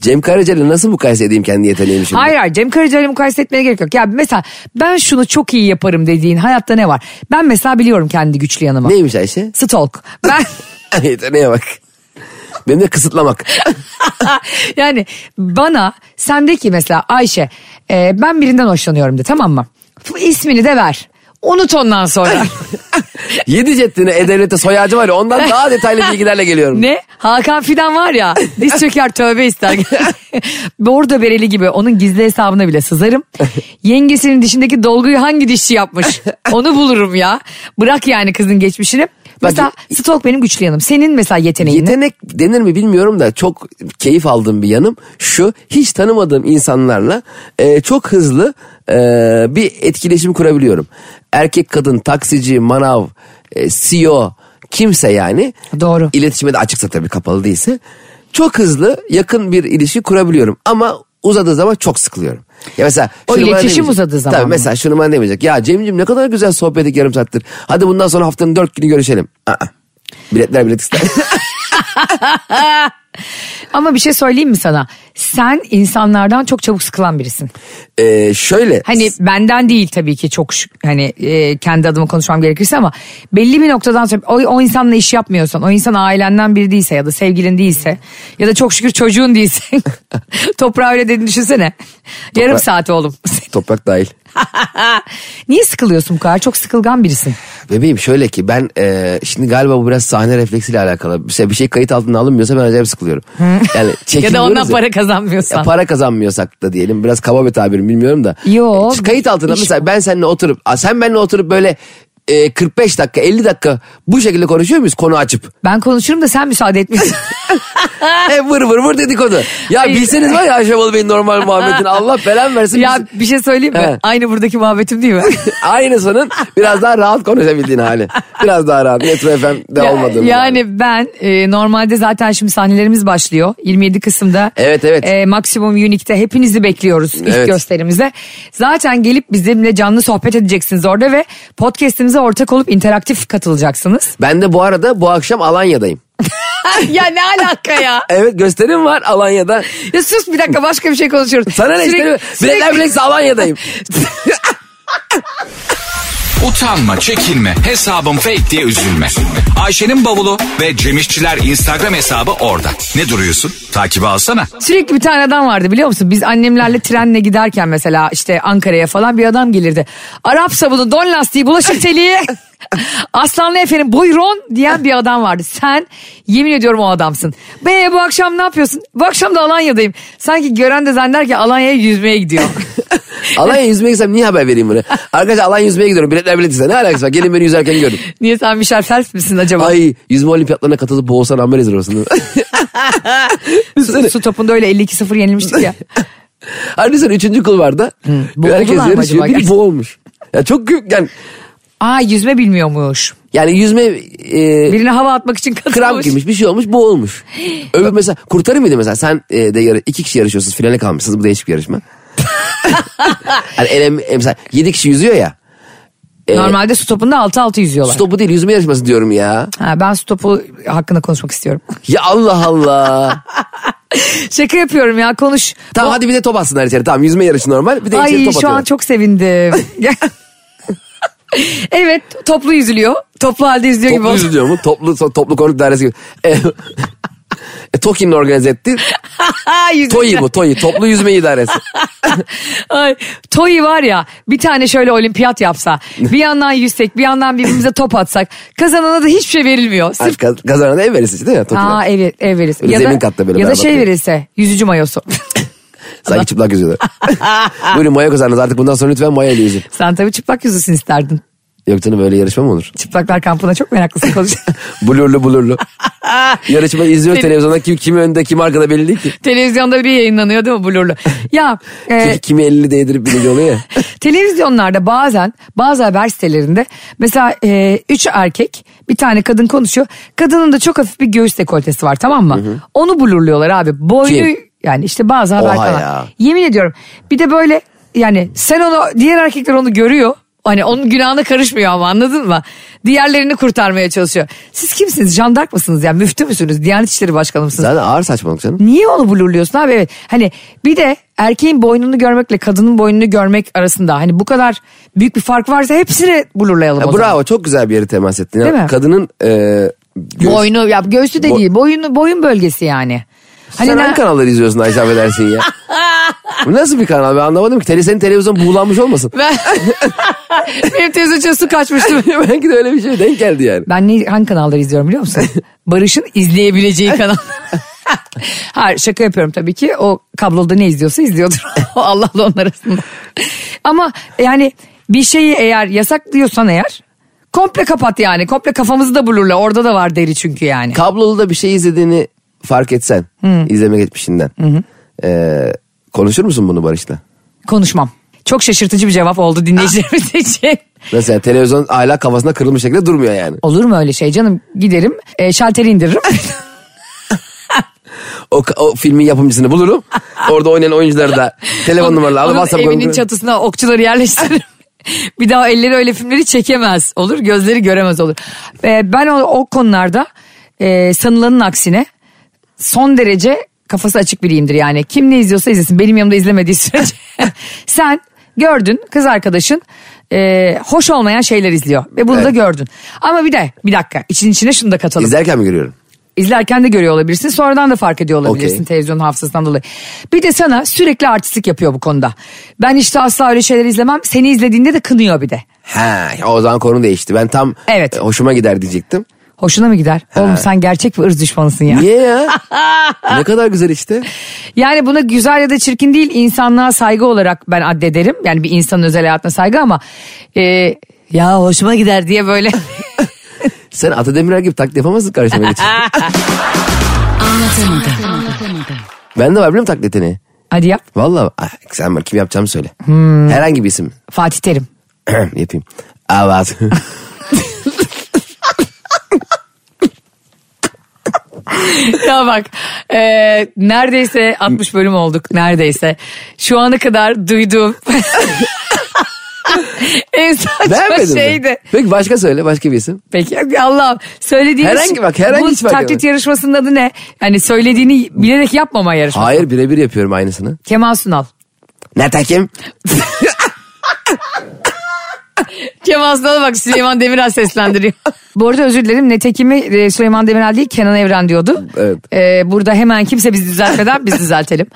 Speaker 3: Cem Karaca'yla nasıl mukayese edeyim kendi yeteneğimi şimdi?
Speaker 2: Hayır hayır Cem Karaca'yla mukayese etmeye gerek yok. Ya mesela ben şunu çok iyi yaparım dediğin hayatta ne var? Ben mesela biliyorum kendi güçlü yanımı.
Speaker 3: Neymiş Ayşe?
Speaker 2: Stalk. Ben
Speaker 3: Yeteneğe bak. Benim de kısıtlamak.
Speaker 2: yani bana sendeki mesela Ayşe e, ben birinden hoşlanıyorum de tamam mı? F- İsmini de ver. Unut ondan sonra.
Speaker 3: Yedi ceddine E-Devlet'te soy ağacı var ya ondan daha detaylı bilgilerle geliyorum.
Speaker 2: ne? Hakan Fidan var ya diz çöker tövbe ister. Bordo bereli gibi onun gizli hesabına bile sızarım. Yengesinin dişindeki dolguyu hangi dişçi yapmış? Onu bulurum ya. Bırak yani kızın geçmişini. Mesela stalk benim güçlü yanım. Senin mesela yeteneğin ne?
Speaker 3: Yetenek denir mi bilmiyorum da çok keyif aldığım bir yanım şu hiç tanımadığım insanlarla e, çok hızlı e, bir etkileşim kurabiliyorum. Erkek kadın taksici manav e, CEO kimse yani.
Speaker 2: Doğru.
Speaker 3: İletişime de açıksa tabii kapalı değilse. Çok hızlı yakın bir ilişki kurabiliyorum ama uzadığı zaman çok sıkılıyorum. Ya mesela
Speaker 2: O
Speaker 3: şunu bana
Speaker 2: iletişim
Speaker 3: demeyecek.
Speaker 2: uzadığı zaman
Speaker 3: Tabii
Speaker 2: mı?
Speaker 3: mesela şunu bana demeyecek. Ya Cem'ciğim ne kadar güzel sohbet ettik yarım saattir. Hadi bundan sonra haftanın dört günü görüşelim. Aa, biletler bilet ister.
Speaker 2: Ama bir şey söyleyeyim mi sana? Sen insanlardan çok çabuk sıkılan birisin.
Speaker 3: Ee, şöyle.
Speaker 2: Hani benden değil tabii ki çok şük- hani e, kendi adıma konuşmam gerekirse ama belli bir noktadan sonra o, o insanla iş yapmıyorsan, o insan ailenden biri değilse ya da sevgilin değilse ya da çok şükür çocuğun değilse toprağa öyle dedin düşünsene. Yarım saat oğlum.
Speaker 3: Toprak dahil.
Speaker 2: Niye sıkılıyorsun bu kadar? Çok sıkılgan birisin.
Speaker 3: Bebeğim şöyle ki ben e, şimdi galiba bu biraz sahne refleksiyle alakalı. Mesela bir şey kayıt altına alınmıyorsa ben acayip sıkılıyorum. yani
Speaker 2: Ya da
Speaker 3: çekiniyoruz
Speaker 2: ondan para kazanmıyorsan.
Speaker 3: Ya para kazanmıyorsak da diyelim biraz kaba bir tabirim bilmiyorum da.
Speaker 2: Yo,
Speaker 3: E, Kayıt altında
Speaker 2: iş-
Speaker 3: mesela ben seninle oturup Aa, sen benimle oturup böyle e, 45 dakika 50 dakika bu şekilde konuşuyor muyuz konu açıp?
Speaker 2: Ben konuşurum da sen müsaade etmiyorsun.
Speaker 3: e, vır vır vır dedikodu. Ya
Speaker 2: Ah. Hayır.
Speaker 3: bilseniz var ya Ayşe Balı Bey'in normal muhabbetini Allah belan versin.
Speaker 2: ya
Speaker 3: biz-
Speaker 2: bir şey söyleyeyim mi?
Speaker 3: He.
Speaker 2: Aynı buradaki muhabbetim değil mi?
Speaker 3: Aynısının biraz daha rahat konuşabildiğin hali. Biraz daha rahat. Metro FM'de
Speaker 2: Ya-
Speaker 3: olmadığım hali.
Speaker 2: Yani ben e, normalde zaten şimdi sahnelerimiz başlıyor 27 Kasım'da.
Speaker 3: Evet, evet.
Speaker 2: E, Maximum Unique'de hepinizi bekliyoruz ilk
Speaker 3: Evet.
Speaker 2: gösterimize. Zaten gelip bizimle canlı sohbet edeceksiniz orada ve podcast'imize ortak olup interaktif katılacaksınız.
Speaker 3: Ben de bu arada bu akşam Alanya'dayım.
Speaker 2: Ah, ya ne alaka ya?
Speaker 3: Evet gösterim var Alanya'da.
Speaker 2: Ya sus bir dakika başka bir şey konuşuyoruz.
Speaker 3: Sana ne
Speaker 2: Sürekli-
Speaker 3: isterim?
Speaker 2: sürekli-
Speaker 3: Bilekler bilekse Alanya'dayım.
Speaker 1: Utanma, çekinme, hesabım fake diye üzülme. Ayşe'nin bavulu ve Cemişçiler Instagram hesabı orada. Ne duruyorsun? Takibi alsana.
Speaker 2: Sürekli bir tane adam vardı biliyor musun? Biz annemlerle trenle giderken mesela işte Ankara'ya falan bir adam gelirdi. Arap sabunu, don lastiği, bulaşık teliği. Aslanlı efendim buyurun diyen bir adam vardı. Sen yemin ediyorum o adamsın. Be bu akşam ne yapıyorsun? Bu akşam da Alanya'dayım. Sanki gören de zanneder ki Alanya'ya yüzmeye gidiyor.
Speaker 3: Alanya yüzmeye gitsem niye haber vereyim bunu? Arkadaşlar Alanya yüzmeye gidiyorum. Biletler biletse ne alakası var? Gelin beni yüzerken görün.
Speaker 2: Niye sen Michel Phelps misin acaba?
Speaker 3: Ay yüzme olimpiyatlarına katılıp boğulsan amber ezir olsun.
Speaker 2: su, su topunda öyle 52-0 yenilmiştik ya.
Speaker 3: Hani sen üçüncü kul var da.
Speaker 2: Boğuldular
Speaker 3: Herkes
Speaker 2: mı acaba
Speaker 3: yarışıyor. Biri
Speaker 2: gerçekten?
Speaker 3: boğulmuş. Ya çok gü- yani,
Speaker 2: Aa yüzme bilmiyormuş.
Speaker 3: yani yüzme e,
Speaker 2: Birine hava atmak için
Speaker 3: kramp
Speaker 2: katılmış.
Speaker 3: girmiş bir şey olmuş boğulmuş. Öbür mesela kurtarır mıydı mesela sen e, de yarı, iki kişi yarışıyorsunuz finale kalmışsınız bu değişik bir yarışma. hani el, em- em- mesela yedi kişi yüzüyor ya.
Speaker 2: Normalde su topunda 6-6 yüzüyorlar.
Speaker 3: Stopu değil yüzme yarışması diyorum ya.
Speaker 2: Ha, ben su topu hakkında konuşmak istiyorum.
Speaker 3: Ya Allah Allah.
Speaker 2: Şaka yapıyorum ya konuş.
Speaker 3: tamam hadi bir de top atsınlar içeri. Tamam yüzme yarışı normal. Bir de içeri
Speaker 2: Ay
Speaker 3: top
Speaker 2: şu an
Speaker 3: atıyorlar.
Speaker 2: çok sevindim. evet toplu yüzülüyor. Toplu halde yüzülüyor gibi
Speaker 3: Toplu
Speaker 2: oldu.
Speaker 3: yüzü diyor mu? Toplu, toplu konut dairesi gibi. E, E, Tokin'in organize etti.
Speaker 2: Yüzünden.
Speaker 3: Toyi bu Toyi. Toplu yüzme idaresi.
Speaker 2: Ay, Toyi var ya bir tane şöyle olimpiyat yapsa bir yandan yüzsek bir yandan birbirimize top atsak kazanana da hiçbir şey verilmiyor. Sırf
Speaker 3: Kaz- Kazanan ev verisi değil mi? Tokin'e.
Speaker 2: Aa evet ev verirse.
Speaker 3: Böyle zemin katta böyle
Speaker 2: ya da
Speaker 3: beraber
Speaker 2: şey
Speaker 3: böyle.
Speaker 2: verirse yüzücü mayosu.
Speaker 3: Sanki çıplak yüzüyorlar. Buyurun mayo kazandınız artık bundan sonra lütfen mayo ile yüzün.
Speaker 2: Sen tabii çıplak yüzüsün isterdin.
Speaker 3: Yok canım böyle yarışma mı olur?
Speaker 2: Çıplaklar kampına çok meraklısın konuşuyorsun.
Speaker 3: Blurlu blurlu. Yarışma izliyoruz
Speaker 2: Senin-
Speaker 3: televizyonda kim, kim önde kim arkada belli değil ki.
Speaker 2: Televizyonda bir yayınlanıyor değil mi blurlu? Ya e,
Speaker 3: Çünkü kimi elini değdirip birinci oluyor ya.
Speaker 2: televizyonlarda bazen bazı haber sitelerinde mesela e, üç erkek bir tane kadın konuşuyor. Kadının da çok hafif bir göğüs dekoltesi var tamam mı? Onu blurluyorlar abi. Boynu
Speaker 3: Kim?
Speaker 2: yani işte bazı haber
Speaker 3: Oha
Speaker 2: kanal-
Speaker 3: ya.
Speaker 2: Yemin ediyorum bir de böyle yani sen onu diğer erkekler onu görüyor. Hani onun günahına karışmıyor ama anladın mı? Diğerlerini kurtarmaya çalışıyor. Siz kimsiniz? Jandark mısınız? Yani müftü müsünüz? Diyanet İşleri Başkanı mısınız?
Speaker 3: Zaten ağır saçmalık canım.
Speaker 2: Niye onu blurluyorsun abi? Evet. Hani bir de erkeğin boynunu görmekle kadının boynunu görmek arasında hani bu kadar büyük bir fark varsa hepsini blurlayalım
Speaker 3: Ya
Speaker 2: o zaman.
Speaker 3: bravo çok güzel bir yere temas ettin.
Speaker 2: Değil
Speaker 3: Ya,
Speaker 2: mi?
Speaker 3: kadının e, göğüs-
Speaker 2: Boynu ya göğsü de
Speaker 3: Bo-
Speaker 2: değil. Boyunu boyun bölgesi yani. Hani
Speaker 3: Sen
Speaker 2: ne-
Speaker 3: hangi kanalları izliyorsun Ayşe affedersin ya? Bu nasıl bir kanal ben anlamadım ki. Tele, senin televizyon buğulanmış olmasın.
Speaker 2: ben... Benim teyze için su kaçmıştı.
Speaker 3: Belki de öyle bir şey denk geldi yani.
Speaker 2: Ben ne, hangi kanalları izliyorum biliyor musun? Barış'ın izleyebileceği kanal. Hayır şaka yapıyorum tabii ki. O kabloda ne izliyorsa izliyordur. o Allah'la onlar arasında. Ama yani bir şeyi eğer yasak diyorsan eğer komple kapat yani. Komple kafamızı da bulurla. Orada da var deri çünkü yani.
Speaker 3: Kablolu da bir şey izlediğini fark etsen. izleme geçmişinden. E, konuşur musun bunu Barış'la?
Speaker 2: Konuşmam. Çok şaşırtıcı bir cevap oldu dinleyicilerimiz için.
Speaker 3: Nasıl yani televizyon hala kafasına kırılmış şekilde durmuyor yani.
Speaker 2: Olur mu öyle şey canım? Giderim e, şalteri indiririm.
Speaker 3: O, o filmin yapımcısını bulurum. Orada oynayan oyuncuları da telefon numaraları alıp
Speaker 2: Onun
Speaker 3: WhatsApp
Speaker 2: evinin
Speaker 3: grubuna-
Speaker 2: çatısına okçuları yerleştiririm. bir daha elleri öyle filmleri çekemez olur. Gözleri göremez olur. Ee, ben o, o konularda e, sanılanın aksine son derece kafası açık biriyimdir yani. Kim ne izliyorsa izlesin. Benim yanımda izlemediği sürece. Sen gördün kız arkadaşın e, hoş olmayan şeyler izliyor. Ve bunu da
Speaker 3: Evet.
Speaker 2: gördün. Ama bir de bir dakika için içine şunu da katalım.
Speaker 3: İzlerken mi görüyorum?
Speaker 2: İzlerken de görüyor olabilirsin. Sonradan da fark ediyor olabilirsin
Speaker 3: Okey.
Speaker 2: televizyon hafızasından dolayı. Bir de sana sürekli artistlik yapıyor bu konuda. Ben işte asla öyle şeyler izlemem. Seni izlediğinde de kınıyor bir de.
Speaker 3: He o zaman konu değişti. Ben tam
Speaker 2: Evet.
Speaker 3: e, hoşuma gider diyecektim.
Speaker 2: Hoşuna mı gider? Oğlum sen gerçek bir ırz düşmanısın ya.
Speaker 3: Niye ya? ne kadar güzel işte.
Speaker 2: Yani buna güzel ya da çirkin değil insanlığa saygı olarak ben addederim. Yani bir insanın özel hayatına saygı ama e, ya hoşuma gider diye böyle.
Speaker 3: Sen Ata Demirer gibi taklit yapamazsın karşıma geç. ben de var biliyorum taklit yeteneği.
Speaker 2: Hadi yap
Speaker 3: Valla ah, sen bak kim yapacağımı söyle.
Speaker 2: Hmm.
Speaker 3: Herhangi bir isim.
Speaker 2: Fatih Terim.
Speaker 3: Yapayım. Evet.
Speaker 2: Ya bak e, neredeyse 60 bölüm olduk neredeyse. Şu ana kadar duyduğum en saçma
Speaker 3: Beğenmedin
Speaker 2: şeydi.
Speaker 3: mi? Peki başka söyle başka bir isim.
Speaker 2: Peki Allah'ım söylediğiniz
Speaker 3: Herhangi bak, herhangi hiç
Speaker 2: bu
Speaker 3: fark
Speaker 2: taklit
Speaker 3: etmez.
Speaker 2: yarışmasının adı ne? Yani söylediğini bilerek yapmama yarışması.
Speaker 3: Hayır birebir yapıyorum aynısını.
Speaker 2: Kemal Sunal.
Speaker 3: Ne takim?
Speaker 2: Kemal Sunal'a bak Süleyman Demirel seslendiriyor. Bu arada özür dilerim Netekim'i e, Süleyman Demirel değil Kenan Evren diyordu.
Speaker 3: Evet.
Speaker 2: E, burada hemen kimse bizi düzeltmeden biz düzeltelim.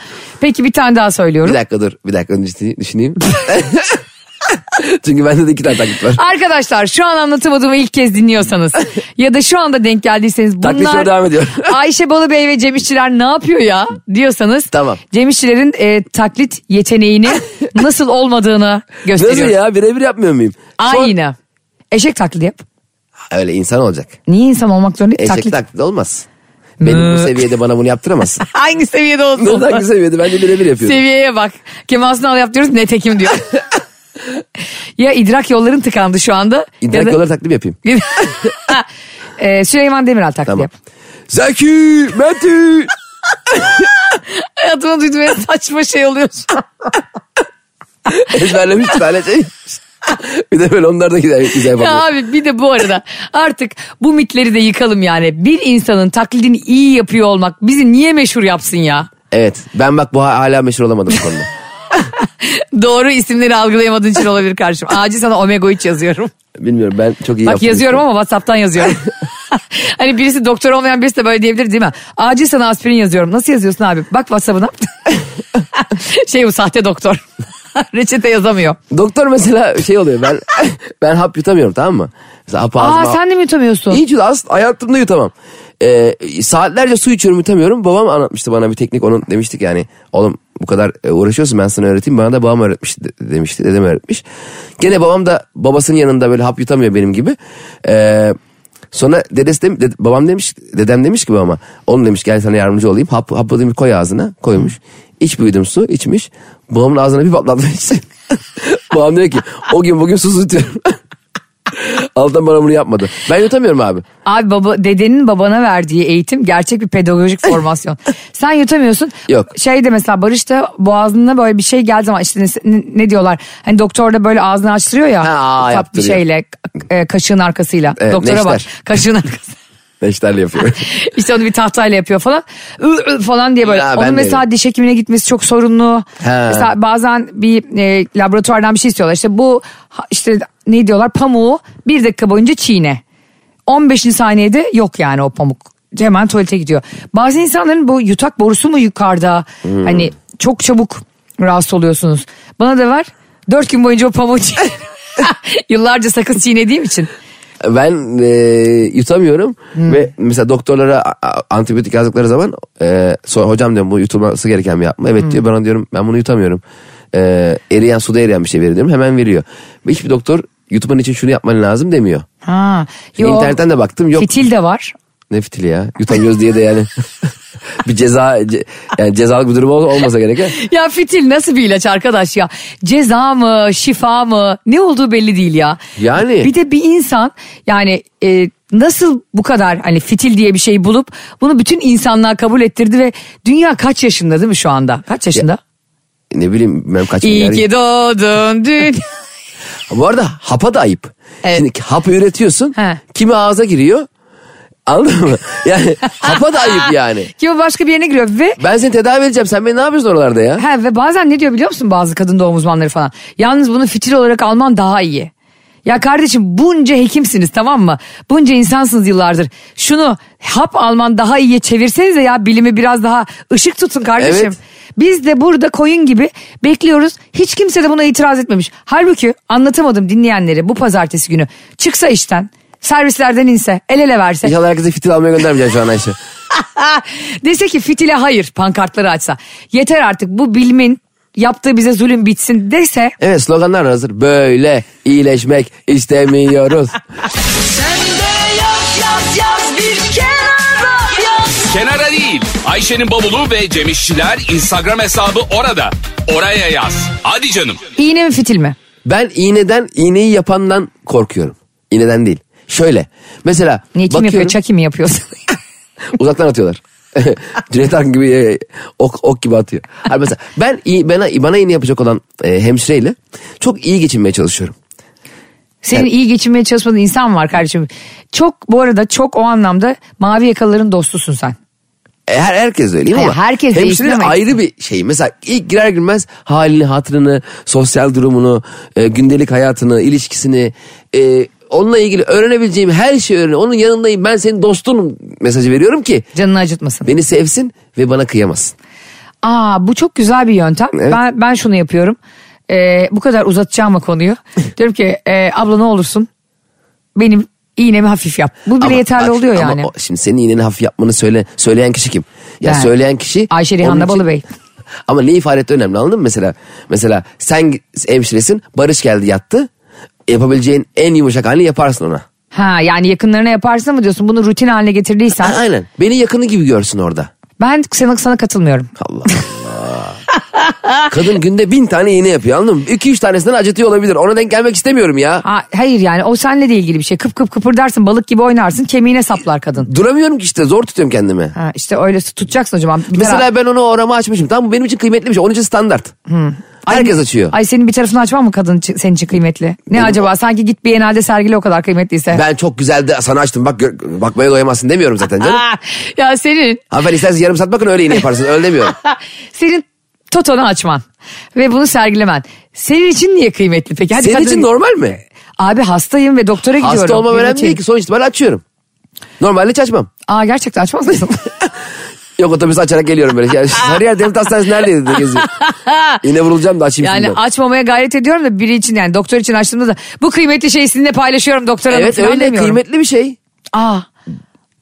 Speaker 2: Peki bir tane daha söylüyorum.
Speaker 3: Bir dakika dur bir dakika önce düşüneyim- düşüneyim. Çünkü bende de iki tane taklit var.
Speaker 2: Arkadaşlar şu an anlatamadığımı ilk kez dinliyorsanız ya da şu anda denk geldiyseniz
Speaker 3: Taklit şöyle
Speaker 2: bunlar
Speaker 3: devam ediyor.
Speaker 2: Ayşe Balıbey ve Cem İşçiler ne yapıyor ya diyorsanız
Speaker 3: Tamam.
Speaker 2: Cem İşçilerin e, taklit yeteneğini nasıl olmadığını gösteriyor.
Speaker 3: Nasıl ya birebir yapmıyor muyum? Son-
Speaker 2: Aynı. Eşek taklidi yap.
Speaker 3: Öyle insan olacak.
Speaker 2: Niye insan olmak zorunda değil?
Speaker 3: Eşek
Speaker 2: Taklit.
Speaker 3: taklit, olmaz. Benim bu seviyede bana bunu yaptıramazsın.
Speaker 2: Hangi seviyede
Speaker 3: Ne
Speaker 2: olsun?
Speaker 3: taklit seviyede ben de birebir yapıyorum.
Speaker 2: Seviyeye bak. Kemal Sunal yap diyoruz ne tekim diyor. ya idrak yolların tıkandı şu anda.
Speaker 3: İdrak
Speaker 2: ya da-
Speaker 3: yolları taklit yapayım.
Speaker 2: E, Süleyman Demirel taklidi
Speaker 3: Tamam.
Speaker 2: yap.
Speaker 3: Zeki, Metin.
Speaker 2: Hayatımda duyduğum en saçma şey oluyor şu an.
Speaker 3: Ezberlemiş bir tane şey. bir de böyle onlar da güzel, güzel
Speaker 2: Ya
Speaker 3: bakıyor.
Speaker 2: abi bir de bu arada artık bu mitleri de yıkalım yani. Bir insanın taklidini iyi yapıyor olmak bizi niye meşhur yapsın ya?
Speaker 3: Evet ben bak bu hala meşhur olamadım bu konuda.
Speaker 2: Doğru isimleri algılayamadığın için olabilir karşım. Acil sana Omega 3 yazıyorum.
Speaker 3: Bilmiyorum ben çok iyi
Speaker 2: Bak
Speaker 3: yaptım.
Speaker 2: yazıyorum ama Whatsapp'tan yazıyorum. hani birisi doktor olmayan birisi de böyle diyebilir değil mi? Acil sana aspirin yazıyorum. Nasıl yazıyorsun abi? Bak WhatsApp'ına. şey bu sahte doktor. Reçete yazamıyor.
Speaker 3: Doktor mesela şey oluyor ben ben hap yutamıyorum tamam mı? Mesela hap
Speaker 2: Aa
Speaker 3: ağzıma-
Speaker 2: sen de mi yutamıyorsun?
Speaker 3: Hiç as- hayatımda yutamam. Ee, saatlerce su içiyorum yutamıyorum. Babam anlatmıştı bana bir teknik onun demiştik yani. Oğlum bu kadar e, uğraşıyorsun ben sana öğreteyim. Bana da babam öğretmişti de- demişti. Dedem öğretmiş. Gene babam da babasının yanında böyle hap yutamıyor benim gibi. Ee, sonra dedesi de, ded- babam demiş dedem demiş ki babama. Oğlum demiş gel sana yardımcı olayım. Hap, hapı demiş koy ağzına koymuş. İç büyüdüm su içmiş. Babamın ağzına bir patlatmış. babam diyor ki o gün bugün su yutuyorum. Altan bana bunu yapmadı. Ben yutamıyorum abi.
Speaker 2: Abi baba dedenin babana verdiği eğitim gerçek bir pedagojik formasyon. Sen yutamıyorsun.
Speaker 3: Yok.
Speaker 2: Şey de mesela Barış da boğazına böyle bir şey geldi zaman işte ne, ne diyorlar? Hani doktor da böyle ağzını açtırıyor ya.
Speaker 3: Ha,
Speaker 2: ufak bir
Speaker 3: yaptırıyor.
Speaker 2: şeyle e, kaşığın arkasıyla.
Speaker 3: Evet,
Speaker 2: Doktora bak.
Speaker 3: neşter.
Speaker 2: Kaşığın arkası.
Speaker 3: Neşterle yapıyorum.
Speaker 2: işte onu bir tahtayla yapıyor falan. Ü- ü falan diye böyle.
Speaker 3: Ya, ben
Speaker 2: Onun
Speaker 3: de
Speaker 2: mesela
Speaker 3: öyle.
Speaker 2: diş hekimine gitmesi çok sorunlu.
Speaker 3: He.
Speaker 2: Mesela bazen bir e, laboratuvardan bir şey istiyorlar. İşte bu ha- işte ne diyorlar pamuğu bir dakika boyunca çiğne. 15. saniyede yok yani o pamuk. Hemen tuvalete gidiyor. Bazı insanların bu yutak borusu mu yukarıda?
Speaker 3: Hmm.
Speaker 2: Hani çok çabuk rahatsız oluyorsunuz. Bana da var. Dört gün boyunca o pamuğu çiğne. Yıllarca sakız çiğnediğim için.
Speaker 3: ben e, yutamıyorum
Speaker 2: Hmm.
Speaker 3: ve mesela doktorlara a- a- antibiyotik yazdıkları zaman e, so- hocam diyorum bu yutulması gereken bir yapma.
Speaker 2: Hmm.
Speaker 3: Evet diyor bana diyorum ben bunu yutamıyorum. E, eriyen suda eriyen bir şey verin diyorum hemen veriyor. Ve hiçbir doktor yutman için şunu yapman lazım demiyor.
Speaker 2: Ha.
Speaker 3: Şimdi
Speaker 2: yo,
Speaker 3: internetten de baktım yok.
Speaker 2: Fitil de var.
Speaker 3: Ne fitili ya yutamıyoruz diye de yani bir ceza ce- yani cezalık bir durum ol- olmasa gerek. ya.
Speaker 2: Ya fitil nasıl bir ilaç arkadaş ya? Ceza mı, şifa mı? Ne olduğu belli değil ya.
Speaker 3: Yani.
Speaker 2: Bir de bir insan yani e, nasıl bu kadar hani fitil diye bir şey bulup bunu bütün insanlığa kabul ettirdi ve dünya kaç yaşında değil mi şu anda? Kaç yaşında?
Speaker 3: Ne bileyim bilmem kaç
Speaker 2: İyi
Speaker 3: milyar-
Speaker 2: ki doğdun dün.
Speaker 3: Bu arada hapa da ayıp.
Speaker 2: Evet.
Speaker 3: Şimdi hap üretiyorsun.
Speaker 2: He.
Speaker 3: Kimi ağza giriyor. Anladın mı? Yani hapa da ayıp yani.
Speaker 2: Ki o başka bir yerine giriyor ve
Speaker 3: Ben seni tedavi edeceğim. Sen beni ne yapıyorsun oralarda ya?
Speaker 2: Ha, ve bazen ne diyor biliyor musun bazı kadın doğum uzmanları falan. Yalnız bunu fitil olarak alman daha iyi. Ya kardeşim bunca hekimsiniz tamam mı? Bunca insansınız yıllardır. Şunu hap alman daha iyiye çevirsenize ya bilimi biraz daha ışık tutun kardeşim.
Speaker 3: Evet.
Speaker 2: Biz de burada koyun gibi bekliyoruz. Hiç kimse de buna itiraz etmemiş. Halbuki anlatamadım dinleyenleri bu pazartesi günü. Çıksa işten, servislerden inse, el ele verse.
Speaker 3: İnşallah herkese fitil almaya göndermeyeceğim şu an Ayşe.
Speaker 2: Dese ki fitile hayır pankartları açsa. Yeter artık bu bilimin yaptığı bize zulüm bitsin dese
Speaker 3: Evet sloganlar hazır. Böyle iyileşmek istemiyoruz.
Speaker 1: Kenara değil. Ayşe'nin bavulu ve Cemişçiler Instagram hesabı orada. Oraya yaz. Hadi canım.
Speaker 2: iğne mi fitil mi?
Speaker 3: ben iğneden, iğneyi yapandan korkuyorum. İğneden değil. Şöyle. Mesela
Speaker 2: Niye kim
Speaker 3: bakıyorum.
Speaker 2: yapıyor? Çaki mi yapıyorsun?
Speaker 3: Uzaktan atıyorlar. Cüneyt Arkın gibi e, ok, ok gibi atıyor. Hayır mesela ben iyi bana, bana iğne yapacak olan e, hemşireyle çok iyi geçinmeye çalışıyorum.
Speaker 2: Senin
Speaker 3: Evet.
Speaker 2: iyi geçinmeye çalışmadığın insan var kardeşim. Çok bu arada çok o anlamda mavi yakalıların dostusun sen.
Speaker 3: E, Her, herkes öyle değil mi
Speaker 2: Hayır,
Speaker 3: ama
Speaker 2: herkes de
Speaker 3: hemşire
Speaker 2: işlemek.
Speaker 3: ayrı bir şey. Mesela ilk girer girmez halini, hatırını, sosyal durumunu, e, gündelik hayatını, ilişkisini, e, onunla ilgili öğrenebileceğim her şeyi öğren. Onun yanındayım ben senin dostunum mesajı veriyorum ki
Speaker 2: Canını acıtmasın.
Speaker 3: beni sevsin ve bana kıyamasın.
Speaker 2: Aa bu çok güzel bir yöntem.
Speaker 3: Evet.
Speaker 2: Ben ben şunu yapıyorum. Ee, bu kadar uzatacağım o konuyu. Diyorum ki "Ee, abla ne olursun benim iğnemi hafif yap. Bu bile
Speaker 3: Ama
Speaker 2: yeterli
Speaker 3: bak,
Speaker 2: oluyor
Speaker 3: ama
Speaker 2: yani.
Speaker 3: o- şimdi senin iğneni hafif yapmanı söyle, söyleyen kişi kim? Ya
Speaker 2: Ben.
Speaker 3: söyleyen kişi...
Speaker 2: Ayşe Rihanna
Speaker 3: onun için-
Speaker 2: Balıbey.
Speaker 3: Ama ne ifade ettiği önemli anladın mı mesela? Mesela sen hemşiresin, Barış geldi yattı. Yapabileceğin en yumuşak halini yaparsın ona.
Speaker 2: Ha yani yakınlarına yaparsın mı diyorsun bunu rutin haline
Speaker 3: A-
Speaker 2: getirdiysen.
Speaker 3: Aynen. Beni yakını gibi görsün orada.
Speaker 2: Ben sana, sana katılmıyorum.
Speaker 3: Allah Allah. Kadın günde bin tane iğne yapıyor anladın mı? İki üç tanesinden acıtıyor olabilir. Ona denk gelmek istemiyorum ya.
Speaker 2: Ha, hayır yani o seninle de ilgili bir şey. Kıp kıp kıpırdarsın balık gibi oynarsın kemiğine saplar kadın.
Speaker 3: Duramıyorum ki işte zor tutuyorum kendimi.
Speaker 2: Ha, işte öyle tutacaksın hocam. Bir taraf-
Speaker 3: Mesela ben onu orama açmışım. Tamam bu benim için kıymetli bir şey. Onun için standart. Herkes açıyor.
Speaker 2: Hmm. Ay senin bir tarafını açmam mı kadın için- senin için kıymetli? Ne acaba sanki git bir enalde sergile o kadar kıymetliyse.
Speaker 3: Ben çok güzel de sana açtım. Bak gör- bakmaya doyamazsın demiyorum zaten canım.
Speaker 2: Aa, ya senin
Speaker 3: Hanımefendi isterseniz yarım saat bakın öyle iğne yaparsın. Öyle demiyorum.
Speaker 2: senin totonu açman ve bunu sergilemen. Senin için niye kıymetli peki? Hadi
Speaker 3: Senin
Speaker 2: kadın-
Speaker 3: için normal mi?
Speaker 2: Abi hastayım ve doktora gidiyorum.
Speaker 3: Hasta olmam
Speaker 2: Benim
Speaker 3: önemli
Speaker 2: için-
Speaker 3: değil ki. Sonuç itibariyle açıyorum. Normalde hiç açmam.
Speaker 2: Aa gerçekten açmaz mısın?
Speaker 3: Yok otobüsü açarak geliyorum böyle. Yani her yer devlet hastanesi neredeydi diye geziyor. Yine vurulacağım da açayım
Speaker 2: yani
Speaker 3: şundan.
Speaker 2: açmamaya gayret ediyorum da biri için yani doktor için açtığımda da bu kıymetli şeyi sizinle paylaşıyorum doktor hanım
Speaker 3: Evet
Speaker 2: falan
Speaker 3: öyle
Speaker 2: demiyorum.
Speaker 3: kıymetli bir şey.
Speaker 2: Aa,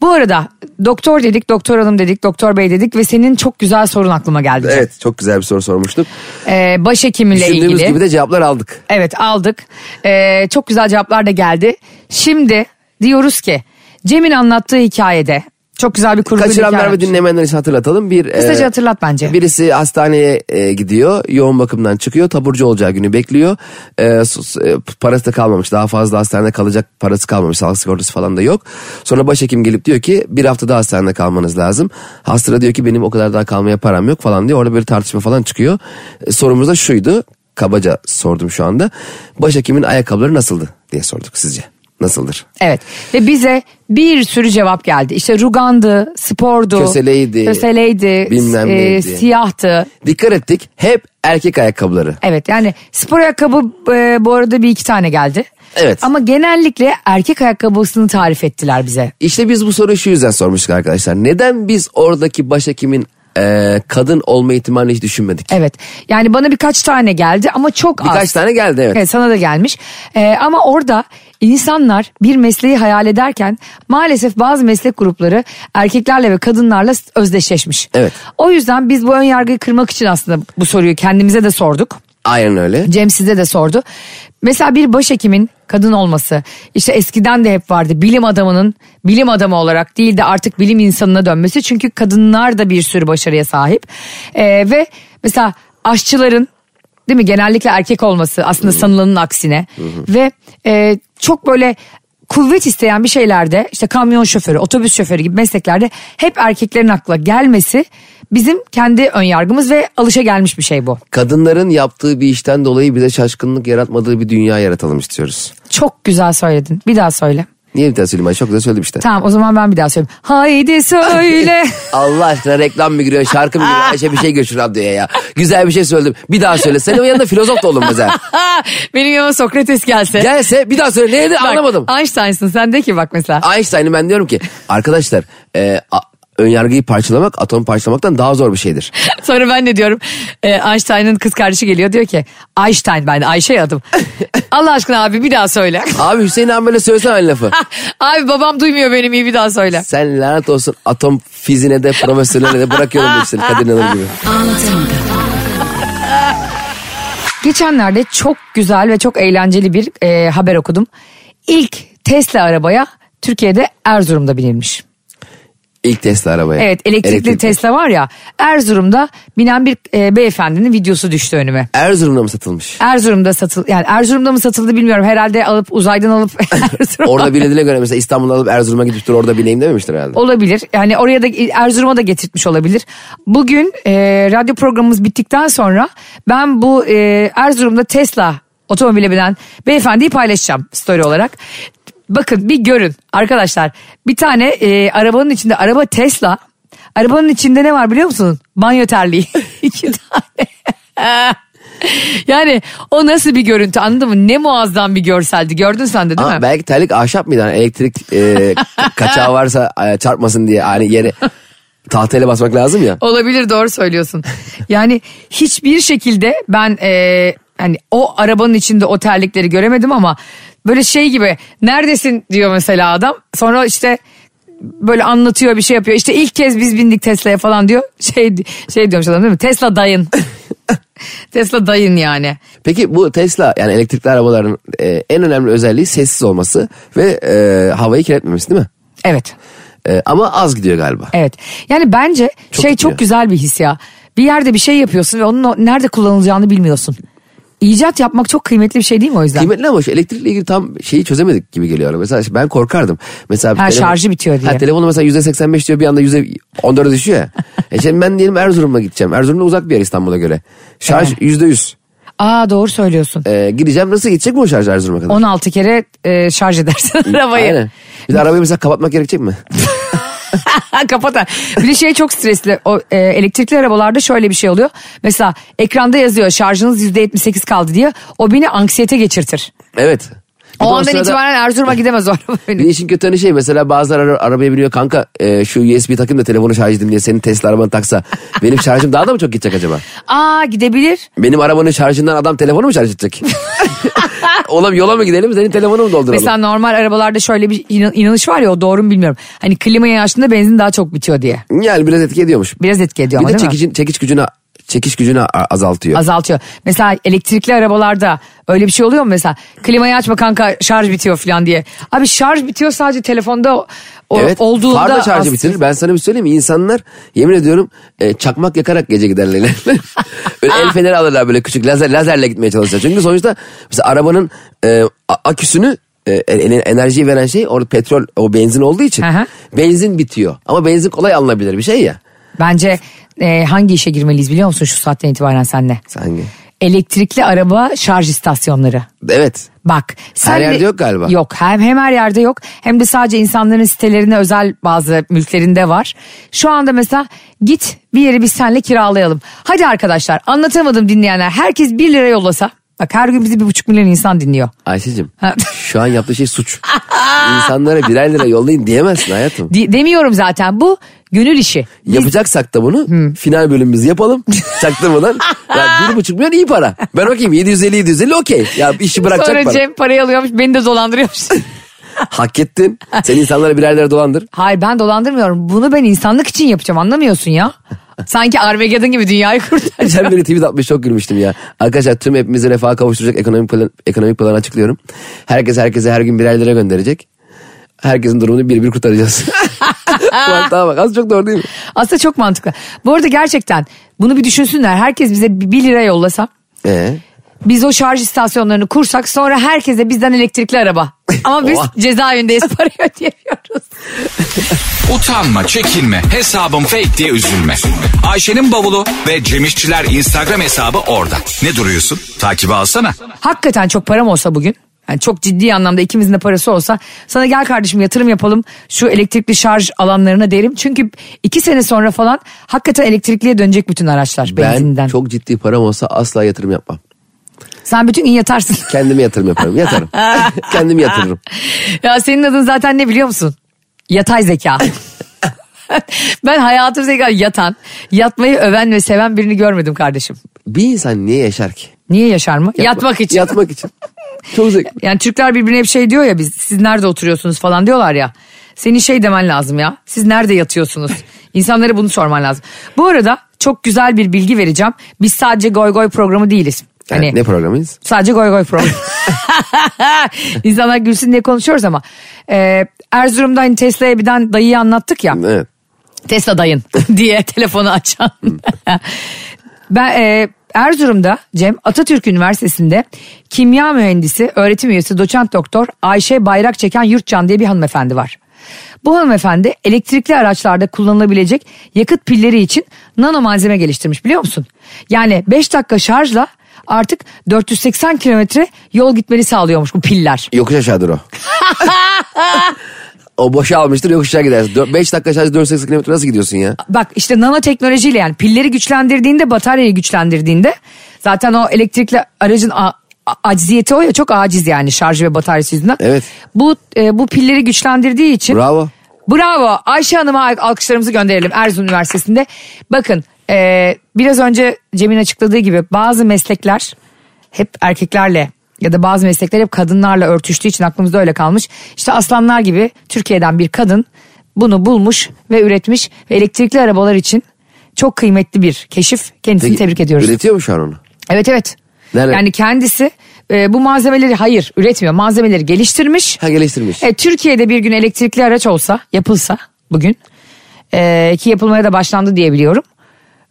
Speaker 2: bu arada doktor dedik, doktor hanım dedik, doktor bey dedik ve senin çok güzel sorun aklıma geldi.
Speaker 3: Evet çok güzel bir soru sormuştuk.
Speaker 2: Ee, başhekimle
Speaker 3: Düşündüğümüz
Speaker 2: ilgili.
Speaker 3: gibi de cevaplar aldık.
Speaker 2: Evet aldık. Ee, çok güzel cevaplar da geldi. Şimdi diyoruz ki Cem'in anlattığı hikayede çok güzel bir kurgu
Speaker 3: Kaçıranlar
Speaker 2: hikaye.
Speaker 3: ve dinlemeyenler için hatırlatalım. Bir,
Speaker 2: Kısaca
Speaker 3: e,
Speaker 2: hatırlat bence.
Speaker 3: Birisi hastaneye e, gidiyor. Yoğun bakımdan çıkıyor. Taburcu olacağı günü bekliyor. E, sus- e, parası da kalmamış. Daha fazla hastanede kalacak parası kalmamış. Sağlık sigortası falan da yok. Sonra başhekim gelip diyor ki bir hafta daha hastanede kalmanız lazım. Hasta da diyor ki benim o kadar daha kalmaya param yok falan diyor. Orada bir tartışma falan çıkıyor. E, sorumuz da şuydu. Kabaca sordum şu anda. Başhekimin ayakkabıları nasıldı diye sorduk sizce. Nasıldır?
Speaker 2: Evet ve bize bir sürü cevap geldi. İşte rugandı, spordu,
Speaker 3: Köseleydi,
Speaker 2: köseleydi,
Speaker 3: bilmem
Speaker 2: e,
Speaker 3: neydi.
Speaker 2: siyahtı.
Speaker 3: Dikkat ettik. Hep erkek ayakkabıları.
Speaker 2: Evet yani spor ayakkabı e, bu arada bir iki tane geldi.
Speaker 3: Evet.
Speaker 2: Ama genellikle erkek ayakkabısını tarif ettiler bize.
Speaker 3: İşte biz bu soruyu şu yüzden sormuştuk arkadaşlar. Neden biz oradaki başhekimin eee, kadın olma ihtimalini hiç düşünmedik?
Speaker 2: Evet yani bana birkaç tane geldi ama çok az.
Speaker 3: Birkaç tane geldi evet.
Speaker 2: Evet, sana da gelmiş. Ee, ama orada insanlar bir mesleği hayal ederken maalesef bazı meslek grupları erkeklerle ve kadınlarla özdeşleşmiş.
Speaker 3: Evet.
Speaker 2: O yüzden biz bu ön yargıyı kırmak için aslında bu soruyu kendimize de sorduk.
Speaker 3: Aynen öyle.
Speaker 2: Cem size de sordu. Mesela bir başhekimin kadın olması işte eskiden de hep vardı bilim adamının bilim adamı olarak değil de artık bilim insanına dönmesi. Çünkü kadınlar da bir sürü başarıya sahip Ee, ve mesela aşçıların değil mi genellikle erkek olması aslında sanılanın aksine ve e, çok böyle kuvvet isteyen bir şeylerde işte kamyon şoförü, otobüs şoförü gibi mesleklerde hep erkeklerin akla gelmesi bizim kendi ön yargımız ve alışa gelmiş bir şey bu.
Speaker 3: Kadınların yaptığı bir işten dolayı bize şaşkınlık yaratmadığı bir dünya yaratalım istiyoruz.
Speaker 2: Çok güzel söyledin. Bir daha söyle.
Speaker 3: Niye bir tane söyleyeyim? ben? Çok güzel söyledim işte.
Speaker 2: Tamam o zaman ben bir daha söyleyeyim. Haydi söyle.
Speaker 3: Allah aşkına reklam mı giriyor, şarkı mı giriyor, Ayşe bir şey giriyor şu radyoya ya. Güzel bir şey söyledim. Bir daha söyle. Senin o yanında filozof da olun mesela.
Speaker 2: Benim yanıma Sokrates gelse.
Speaker 3: Gelse bir daha söyle. Neydi
Speaker 2: Bak,
Speaker 3: anlamadım.
Speaker 2: Einstein'sın sen de ki bak mesela.
Speaker 3: Einstein'ı ben diyorum ki arkadaşlar eee a- önyargıyı parçalamak atom parçalamaktan daha zor bir şeydir.
Speaker 2: Sonra ben ne diyorum? Ee, Einstein'ın kız kardeşi geliyor diyor ki Einstein ben de Ayşe ya adım. Allah aşkına abi bir daha söyle.
Speaker 3: Abi Hüseyin abi böyle söylesene aynı lafı.
Speaker 2: abi babam duymuyor benim iyi bir daha söyle.
Speaker 3: Sen lanet olsun atom fiziğine de profesörüne de bırakıyorum bu işleri Kadir İnanır gibi.
Speaker 2: Geçenlerde çok güzel ve çok eğlenceli bir e, haber okudum. İlk Tesla arabaya Türkiye'de Erzurum'da binilmiş.
Speaker 3: İlk Tesla arabaya.
Speaker 2: Evet elektrikli, Tesla var ya Erzurum'da binen bir e, beyefendinin videosu düştü önüme.
Speaker 3: Erzurum'da mı satılmış?
Speaker 2: Erzurum'da satıl yani Erzurum'da mı satıldı bilmiyorum herhalde alıp uzaydan alıp Erzurum'a
Speaker 3: Orada bilediğine göre mesela İstanbul'dan alıp Erzurum'a gidip dur orada bileyim dememiştir herhalde.
Speaker 2: olabilir. Yani oraya da Erzurum'a da getirtmiş olabilir. Bugün e, radyo programımız bittikten sonra ben bu e, Erzurum'da Tesla otomobile binen beyefendiyi paylaşacağım story olarak. Bakın bir görün arkadaşlar bir tane e, arabanın içinde araba Tesla arabanın içinde ne var biliyor musunuz? Banyo terliği iki tane. yani o nasıl bir görüntü anladın mı? Ne muazzam bir görseldi gördün sen de değil
Speaker 3: Ama
Speaker 2: mi?
Speaker 3: belki terlik ahşap mıydı? Hani elektrik e, ka- kaçağı varsa e, çarpmasın diye hani yere tahtayla basmak lazım ya.
Speaker 2: Olabilir doğru söylüyorsun. Yani hiçbir şekilde ben e, hani o arabanın içinde o terlikleri göremedim ama böyle şey gibi neredesin diyor mesela adam. Sonra işte böyle anlatıyor bir şey yapıyor. İşte ilk kez biz bindik Tesla'ya falan diyor. Şey şey diyormuş adam değil mi? Tesla dayın. Tesla dayın yani.
Speaker 3: Peki bu Tesla yani elektrikli arabaların e, en önemli özelliği sessiz olması ve e, havayı kirletmemesi değil mi?
Speaker 2: Evet.
Speaker 3: E, ama az gidiyor galiba.
Speaker 2: Evet. Yani bence
Speaker 3: Çok
Speaker 2: şey
Speaker 3: gidiyor.
Speaker 2: çok güzel bir his ya. Bir yerde bir şey yapıyorsun ve onun o- nerede kullanılacağını bilmiyorsun. İcat yapmak çok kıymetli bir şey değil mi o yüzden?
Speaker 3: Kıymetli ama şu elektrikle ilgili tam şeyi çözemedik gibi geliyor. Mesela işte ben korkardım. Mesela bir
Speaker 2: Ha, şarjı bitiyor diye.
Speaker 3: Ha, telefonu mesela %85 diyor bir anda %14'e düşüyor ya. e şimdi ben diyelim Erzurum'a gideceğim. Erzurum'da uzak bir yer İstanbul'a göre. Şarj
Speaker 2: Evet.
Speaker 3: %100.
Speaker 2: Aa doğru söylüyorsun.
Speaker 3: Ee, gideceğim nasıl gidecek mi o şarj Erzurum'a kadar?
Speaker 2: 16 kere e, şarj edersin arabayı.
Speaker 3: Aynen. Bir de arabayı mesela kapatmak gerekecek mi?
Speaker 2: Kapat. ha. Bir de şey çok stresli. O, e, elektrikli arabalarda şöyle bir şey oluyor. Mesela ekranda yazıyor şarjınız %78 kaldı diye. O beni anksiyete geçirtir.
Speaker 3: evet. Bir de
Speaker 2: O andan
Speaker 3: sırada-
Speaker 2: itibaren Erzurum'a gidemez o araba
Speaker 3: Bir de
Speaker 2: benim.
Speaker 3: işin kötü yanı şey mesela bazıları ara- arabaya biniyor kanka e, şu USB takayım da telefonu şarj edeyim diye senin Tesla arabanı taksa benim şarjım daha da mı çok gidecek acaba?
Speaker 2: Aa gidebilir.
Speaker 3: Benim arabanın şarjından adam telefonu mu şarj edecek? Oğlum yola mı gidelim senin telefonu mu dolduralım?
Speaker 2: Mesela normal arabalarda şöyle bir inan- inanış var ya o doğru mu bilmiyorum. Hani klimayı açtığında benzin daha çok bitiyor diye.
Speaker 3: Yani biraz etki ediyormuş.
Speaker 2: Biraz etki ediyor
Speaker 3: Bir
Speaker 2: ama
Speaker 3: de
Speaker 2: değil mi?
Speaker 3: çekici, çekiş gücünü çekiş gücünü a- azaltıyor.
Speaker 2: Azaltıyor. Mesela elektrikli arabalarda öyle bir şey oluyor mu mesela? Klimayı açma kanka şarj bitiyor falan diye. Abi şarj bitiyor sadece telefonda o- o,
Speaker 3: evet.
Speaker 2: olduğunda.
Speaker 3: Far da
Speaker 2: az-
Speaker 3: şarjı bitirir. Ben sana bir söyleyeyim mi? İnsanlar yemin ediyorum e, çakmak yakarak gece giderler. böyle
Speaker 2: Ah.
Speaker 3: el feneri alırlar böyle küçük lazer lazerle gitmeye çalışırlar. Çünkü sonuçta mesela arabanın e, a- aküsünü e, en- enerjiyi veren şey orada petrol o benzin olduğu için
Speaker 2: Aha.
Speaker 3: benzin bitiyor. Ama benzin kolay alınabilir bir şey ya.
Speaker 2: Bence e, hangi işe girmeliyiz biliyor musun şu saatten itibaren senle?
Speaker 3: Sanki.
Speaker 2: Elektrikli araba şarj istasyonları.
Speaker 3: Evet.
Speaker 2: Bak. sen de-
Speaker 3: yerde yok galiba.
Speaker 2: Yok hem, hem her yerde yok hem de sadece insanların sitelerine özel bazı mülklerinde var. Şu anda mesela git bir yeri biz seninle kiralayalım. Hadi arkadaşlar anlatamadım dinleyenler herkes 1 lira yollasa. Bak her gün bizi bir buçuk milyon insan dinliyor.
Speaker 3: Ayşe'cim
Speaker 2: Ha.
Speaker 3: şu an yaptığı şey suç. İnsanlara birer lira yollayın diyemezsin hayatım.
Speaker 2: Di- demiyorum zaten bu gönül işi.
Speaker 3: Yapacaksak da bunu final bölümümüzü yapalım. Çaktırmadan. ya bir buçuk milyon iyi para. Ben okuyayım 750 750 okey. Ya işi bırakacak
Speaker 2: Sonra
Speaker 3: para.
Speaker 2: Cem parayı alıyormuş beni de dolandırıyormuş.
Speaker 3: Hak ettin. Sen insanlara birer lira dolandır.
Speaker 2: Hayır ben dolandırmıyorum bunu ben insanlık için yapacağım anlamıyorsun ya. Sanki Armageddon gibi dünyayı kurtaracağım.
Speaker 3: Geçen biri tweet atmış çok gülmüştüm ya. Arkadaşlar tüm hepimizi refaha kavuşturacak ekonomik plan, ekonomik planı açıklıyorum. Herkes herkese her gün birer lira gönderecek. Herkesin durumunu bir bir kurtaracağız. Mantığa bak az çok doğru değil mi?
Speaker 2: Aslında çok mantıklı. Bu arada gerçekten bunu bir düşünsünler. Herkes bize 1 lira yollasa.
Speaker 3: Ee,
Speaker 2: Biz o şarj istasyonlarını kursak sonra herkese bizden elektrikli araba. Ama biz
Speaker 3: Oha.
Speaker 2: cezaevindeyiz parayı ödeyemiyoruz.
Speaker 1: Utanma, çekinme, hesabım fake diye üzülme. Ayşe'nin bavulu ve Cemişçiler Instagram hesabı orada. Ne duruyorsun? Takibi alsana.
Speaker 2: Hakikaten çok param olsa bugün. Yani çok ciddi anlamda ikimizin de parası olsa sana gel kardeşim yatırım yapalım şu elektrikli şarj alanlarına derim. Çünkü iki sene sonra falan hakikaten elektrikliye dönecek bütün araçlar benzinden.
Speaker 3: ben çok ciddi param olsa asla yatırım yapmam.
Speaker 2: Sen bütün gün yatarsın.
Speaker 3: Kendime yatırım yaparım. Yatarım. Kendim yatırırım.
Speaker 2: Ya senin adın zaten ne biliyor musun? Yatay zeka. ben hayatım zeka yatan, yatmayı öven ve seven birini görmedim kardeşim.
Speaker 3: Bir insan niye yaşar ki?
Speaker 2: Niye yaşar mı?
Speaker 3: Yatma-
Speaker 2: Yatmak için.
Speaker 3: Yatmak için. Çok zevkli.
Speaker 2: Yani Türkler birbirine hep şey diyor ya biz siz nerede oturuyorsunuz falan diyorlar ya. Senin şey demen lazım ya. Siz nerede yatıyorsunuz? İnsanlara bunu sorman lazım. Bu arada çok güzel bir bilgi vereceğim. Biz sadece goy goy programı değiliz. Hani
Speaker 3: Yani ne programıyız?
Speaker 2: Sadece goy goy program. İnsanlar gülsün diye konuşuyoruz ama. Ee, Erzurum'da hani Tesla'ya birden dayıyı anlattık ya.
Speaker 3: Evet.
Speaker 2: Tesla dayın diye telefonu açan. ben e, Erzurum'da Cem Atatürk Üniversitesi'nde kimya mühendisi, öğretim üyesi, doçent doktor Ayşe Bayrak Çeken Yurtcan diye bir hanımefendi var. Bu hanımefendi elektrikli araçlarda kullanılabilecek yakıt pilleri için nano malzeme geliştirmiş biliyor musun? Yani 5 dakika şarjla artık 480 kilometre yol gitmeni sağlıyormuş bu piller.
Speaker 3: Yokuş aşağıdır o. o boşa almıştır yokuş aşağı gidersin. 5 dakika şarj 4-8 kilometre nasıl gidiyorsun ya?
Speaker 2: bak işte nanoteknolojiyle yani pilleri güçlendirdiğinde bataryayı güçlendirdiğinde zaten o elektrikli aracın a- a- acziyeti o ya çok aciz yani şarj ve bataryası yüzünden.
Speaker 3: Evet.
Speaker 2: Bu e, bu pilleri güçlendirdiği için.
Speaker 3: Bravo.
Speaker 2: Bravo Ayşe Hanım'a al- alkışlarımızı gönderelim Erzurum Üniversitesi'nde. Bakın e, biraz önce Cem'in açıkladığı gibi bazı meslekler hep erkeklerle ya da bazı meslekler hep kadınlarla örtüştüğü için aklımızda öyle kalmış. İşte aslanlar gibi Türkiye'den bir kadın bunu bulmuş ve üretmiş ve elektrikli arabalar için çok kıymetli bir keşif. Kendisini
Speaker 3: Peki,
Speaker 2: tebrik ediyoruz.
Speaker 3: Üretiyor mu şu an onu?
Speaker 2: evet evet.
Speaker 3: Nerede?
Speaker 2: Yani kendisi e, bu malzemeleri hayır üretmiyor. Malzemeleri geliştirmiş.
Speaker 3: Ha geliştirmiş.
Speaker 2: E, Türkiye'de bir gün elektrikli araç olsa yapılsa bugün e, ki yapılmaya da başlandı diye biliyorum.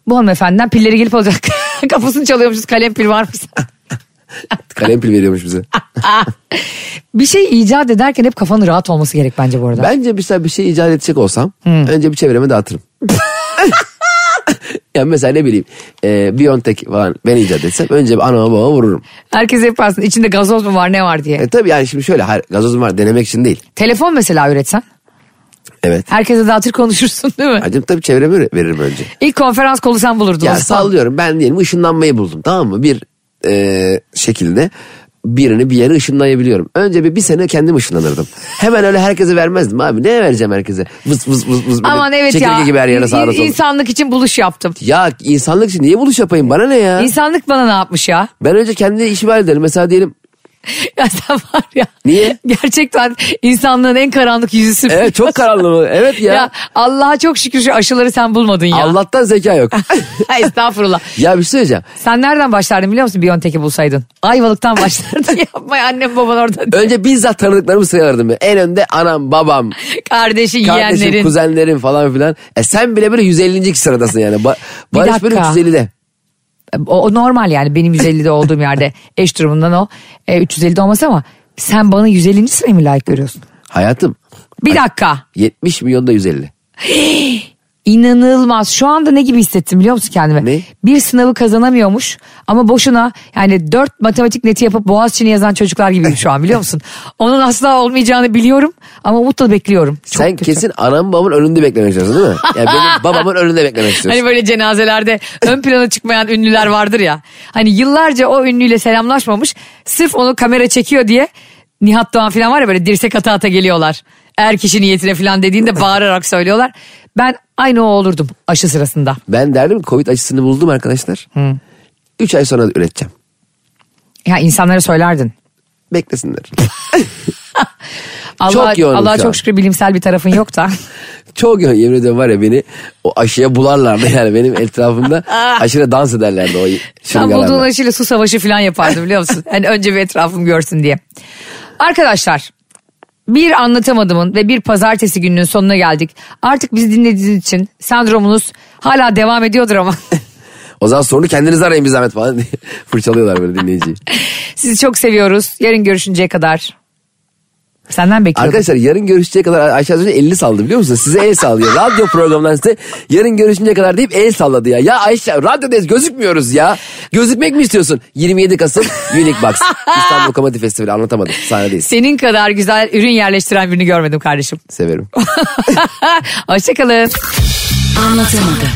Speaker 2: Bu hanımefendiden pilleri gelip olacak. Kafasını çalıyormuşuz kalem pil var mı?
Speaker 3: Kalem pil veriyormuş bize.
Speaker 2: bir şey icat ederken hep kafanın rahat olması gerek bence bu arada.
Speaker 3: Bence bir, bir şey icat edecek olsam önce bir çevreme dağıtırım. yani mesela ne bileyim e, Biontech falan ben icat etsem önce bir anama babama vururum.
Speaker 2: Herkes yaparsın içinde gazoz mu var ne var diye.
Speaker 3: E tabii yani şimdi şöyle hayır, gazozum var denemek için değil.
Speaker 2: Telefon mesela üretsen
Speaker 3: Evet.
Speaker 2: herkese dağıtır konuşursun değil mi?
Speaker 3: Hacım tabii çevreme öyle- veririm önce.
Speaker 2: İlk konferans kolu sen bulurdun. o
Speaker 3: Ya
Speaker 2: zaman.
Speaker 3: sallıyorum ben diyelim ışınlanmayı buldum tamam mı? Bir e, şekilde birini bir yere ışınlayabiliyorum. Önce bir, bir sene kendim ışınlanırdım. Hemen öyle herkese vermezdim abi. Ne vereceğim herkese? Vız vız vız vız. böyle
Speaker 2: Aman evet
Speaker 3: Çekirge
Speaker 2: ya.
Speaker 3: gibi her yere sağda
Speaker 2: İ-
Speaker 3: sola.
Speaker 2: İnsanlık için buluş yaptım.
Speaker 3: Ya insanlık için niye buluş yapayım? Bana ne ya?
Speaker 2: İnsanlık bana ne yapmış ya?
Speaker 3: ben önce kendi işimi hallederim. Mesela diyelim
Speaker 2: Ya sen var ya.
Speaker 3: Niye?
Speaker 2: Gerçekten insanlığın en karanlık yüzüsün.
Speaker 3: evet çok karanlığı. Evet ya.
Speaker 2: Ya. Allah'a çok şükür şu aşıları sen bulmadın ya.
Speaker 3: Allah'tan zeka yok.
Speaker 2: Estağfurullah.
Speaker 3: ya bir şey söyleyeceğim.
Speaker 2: Sen nereden başlardın biliyor musun Biontech'i bulsaydın? Ayvalık'tan başlardın. Yapma annem baban orada.
Speaker 3: Önce bizzat tanıdıklarımı sayardım. En önde anam, babam,
Speaker 2: Kardeşin,
Speaker 3: kardeşim,
Speaker 2: yeğenlerin.
Speaker 3: kuzenlerim falan filan. E sen bile böyle 150. sıradasın yani. Ba-
Speaker 2: Bir
Speaker 3: Barış böyle
Speaker 2: dakika.
Speaker 3: 350'de.
Speaker 2: O, o normal yani benim 150'de olduğum yerde eş durumundan o e, 350'de olması ama sen bana 150. sırayı mı layık görüyorsun?
Speaker 3: Hayatım
Speaker 2: Bir dakika.
Speaker 3: 70 milyonda 150.
Speaker 2: İnanılmaz. Şu anda ne gibi hissettim biliyor musun kendimi?
Speaker 3: Ne?
Speaker 2: Bir sınavı kazanamıyormuş ama boşuna yani dört matematik neti yapıp Boğaziçi'ni yazan çocuklar gibiyim şu an biliyor musun? Onun asla olmayacağını biliyorum ama umutla bekliyorum. Çok
Speaker 3: sen
Speaker 2: kötü.
Speaker 3: kesin anam babamın önünde beklemek istiyorsun değil mi? Yani benim babamın önünde beklemek istiyorsun.
Speaker 2: Hani böyle cenazelerde ön plana çıkmayan ünlüler vardır ya. Hani yıllarca o ünlüyle selamlaşmamış. Sırf onu kamera çekiyor diye Nihat Doğan falan var ya böyle dirsek ata ata geliyorlar. Er kişi niyetine falan dediğinde bağırarak söylüyorlar. Ben aynı o olurdum aşı sırasında.
Speaker 3: Ben derdim ki, Covid aşısını buldum arkadaşlar. 3 ay sonra da üreteceğim.
Speaker 2: Ya insanlara söylerdin.
Speaker 3: Beklesinler.
Speaker 2: Allah,
Speaker 3: Çok yoğunum
Speaker 2: Allah'a
Speaker 3: şu an.
Speaker 2: çok şükür bilimsel bir tarafın yok da.
Speaker 3: Çok yoğun yemin ediyorum var ya beni o aşıya bularlardı yani benim etrafımda aşırı dans ederlerdi o
Speaker 2: Sen bulduğun
Speaker 3: şırıngalarla.
Speaker 2: aşıyla su savaşı falan yapardı biliyor musun? Hani önce bir etrafım görsün diye. Arkadaşlar bir anlatamadımın ve bir pazartesi gününün sonuna geldik. Artık bizi dinlediğiniz için sendromunuz hala devam ediyordur ama
Speaker 3: O zaman sorunu kendiniz arayın bir zahmet falan diye fırçalıyorlar böyle dinleyiciyi.
Speaker 2: sizi çok seviyoruz. Yarın görüşünceye kadar senden bekliyorum.
Speaker 3: Arkadaşlar yarın görüşeceğe kadar Ayşe az önce 50 saldı biliyor musunuz? Size el sallıyor. Radyo programından size yarın görüşünceye kadar deyip el salladı ya. Ya Ayşe radyodayız gözükmüyoruz ya. Gözükmek mi istiyorsun? 27 Kasım Unique Box. İstanbul Komedi Festivali anlatamadım. Sahnedeyiz.
Speaker 2: Senin kadar güzel ürün yerleştiren birini görmedim kardeşim.
Speaker 3: Severim.
Speaker 2: Hoşçakalın.
Speaker 4: Anlatamadım.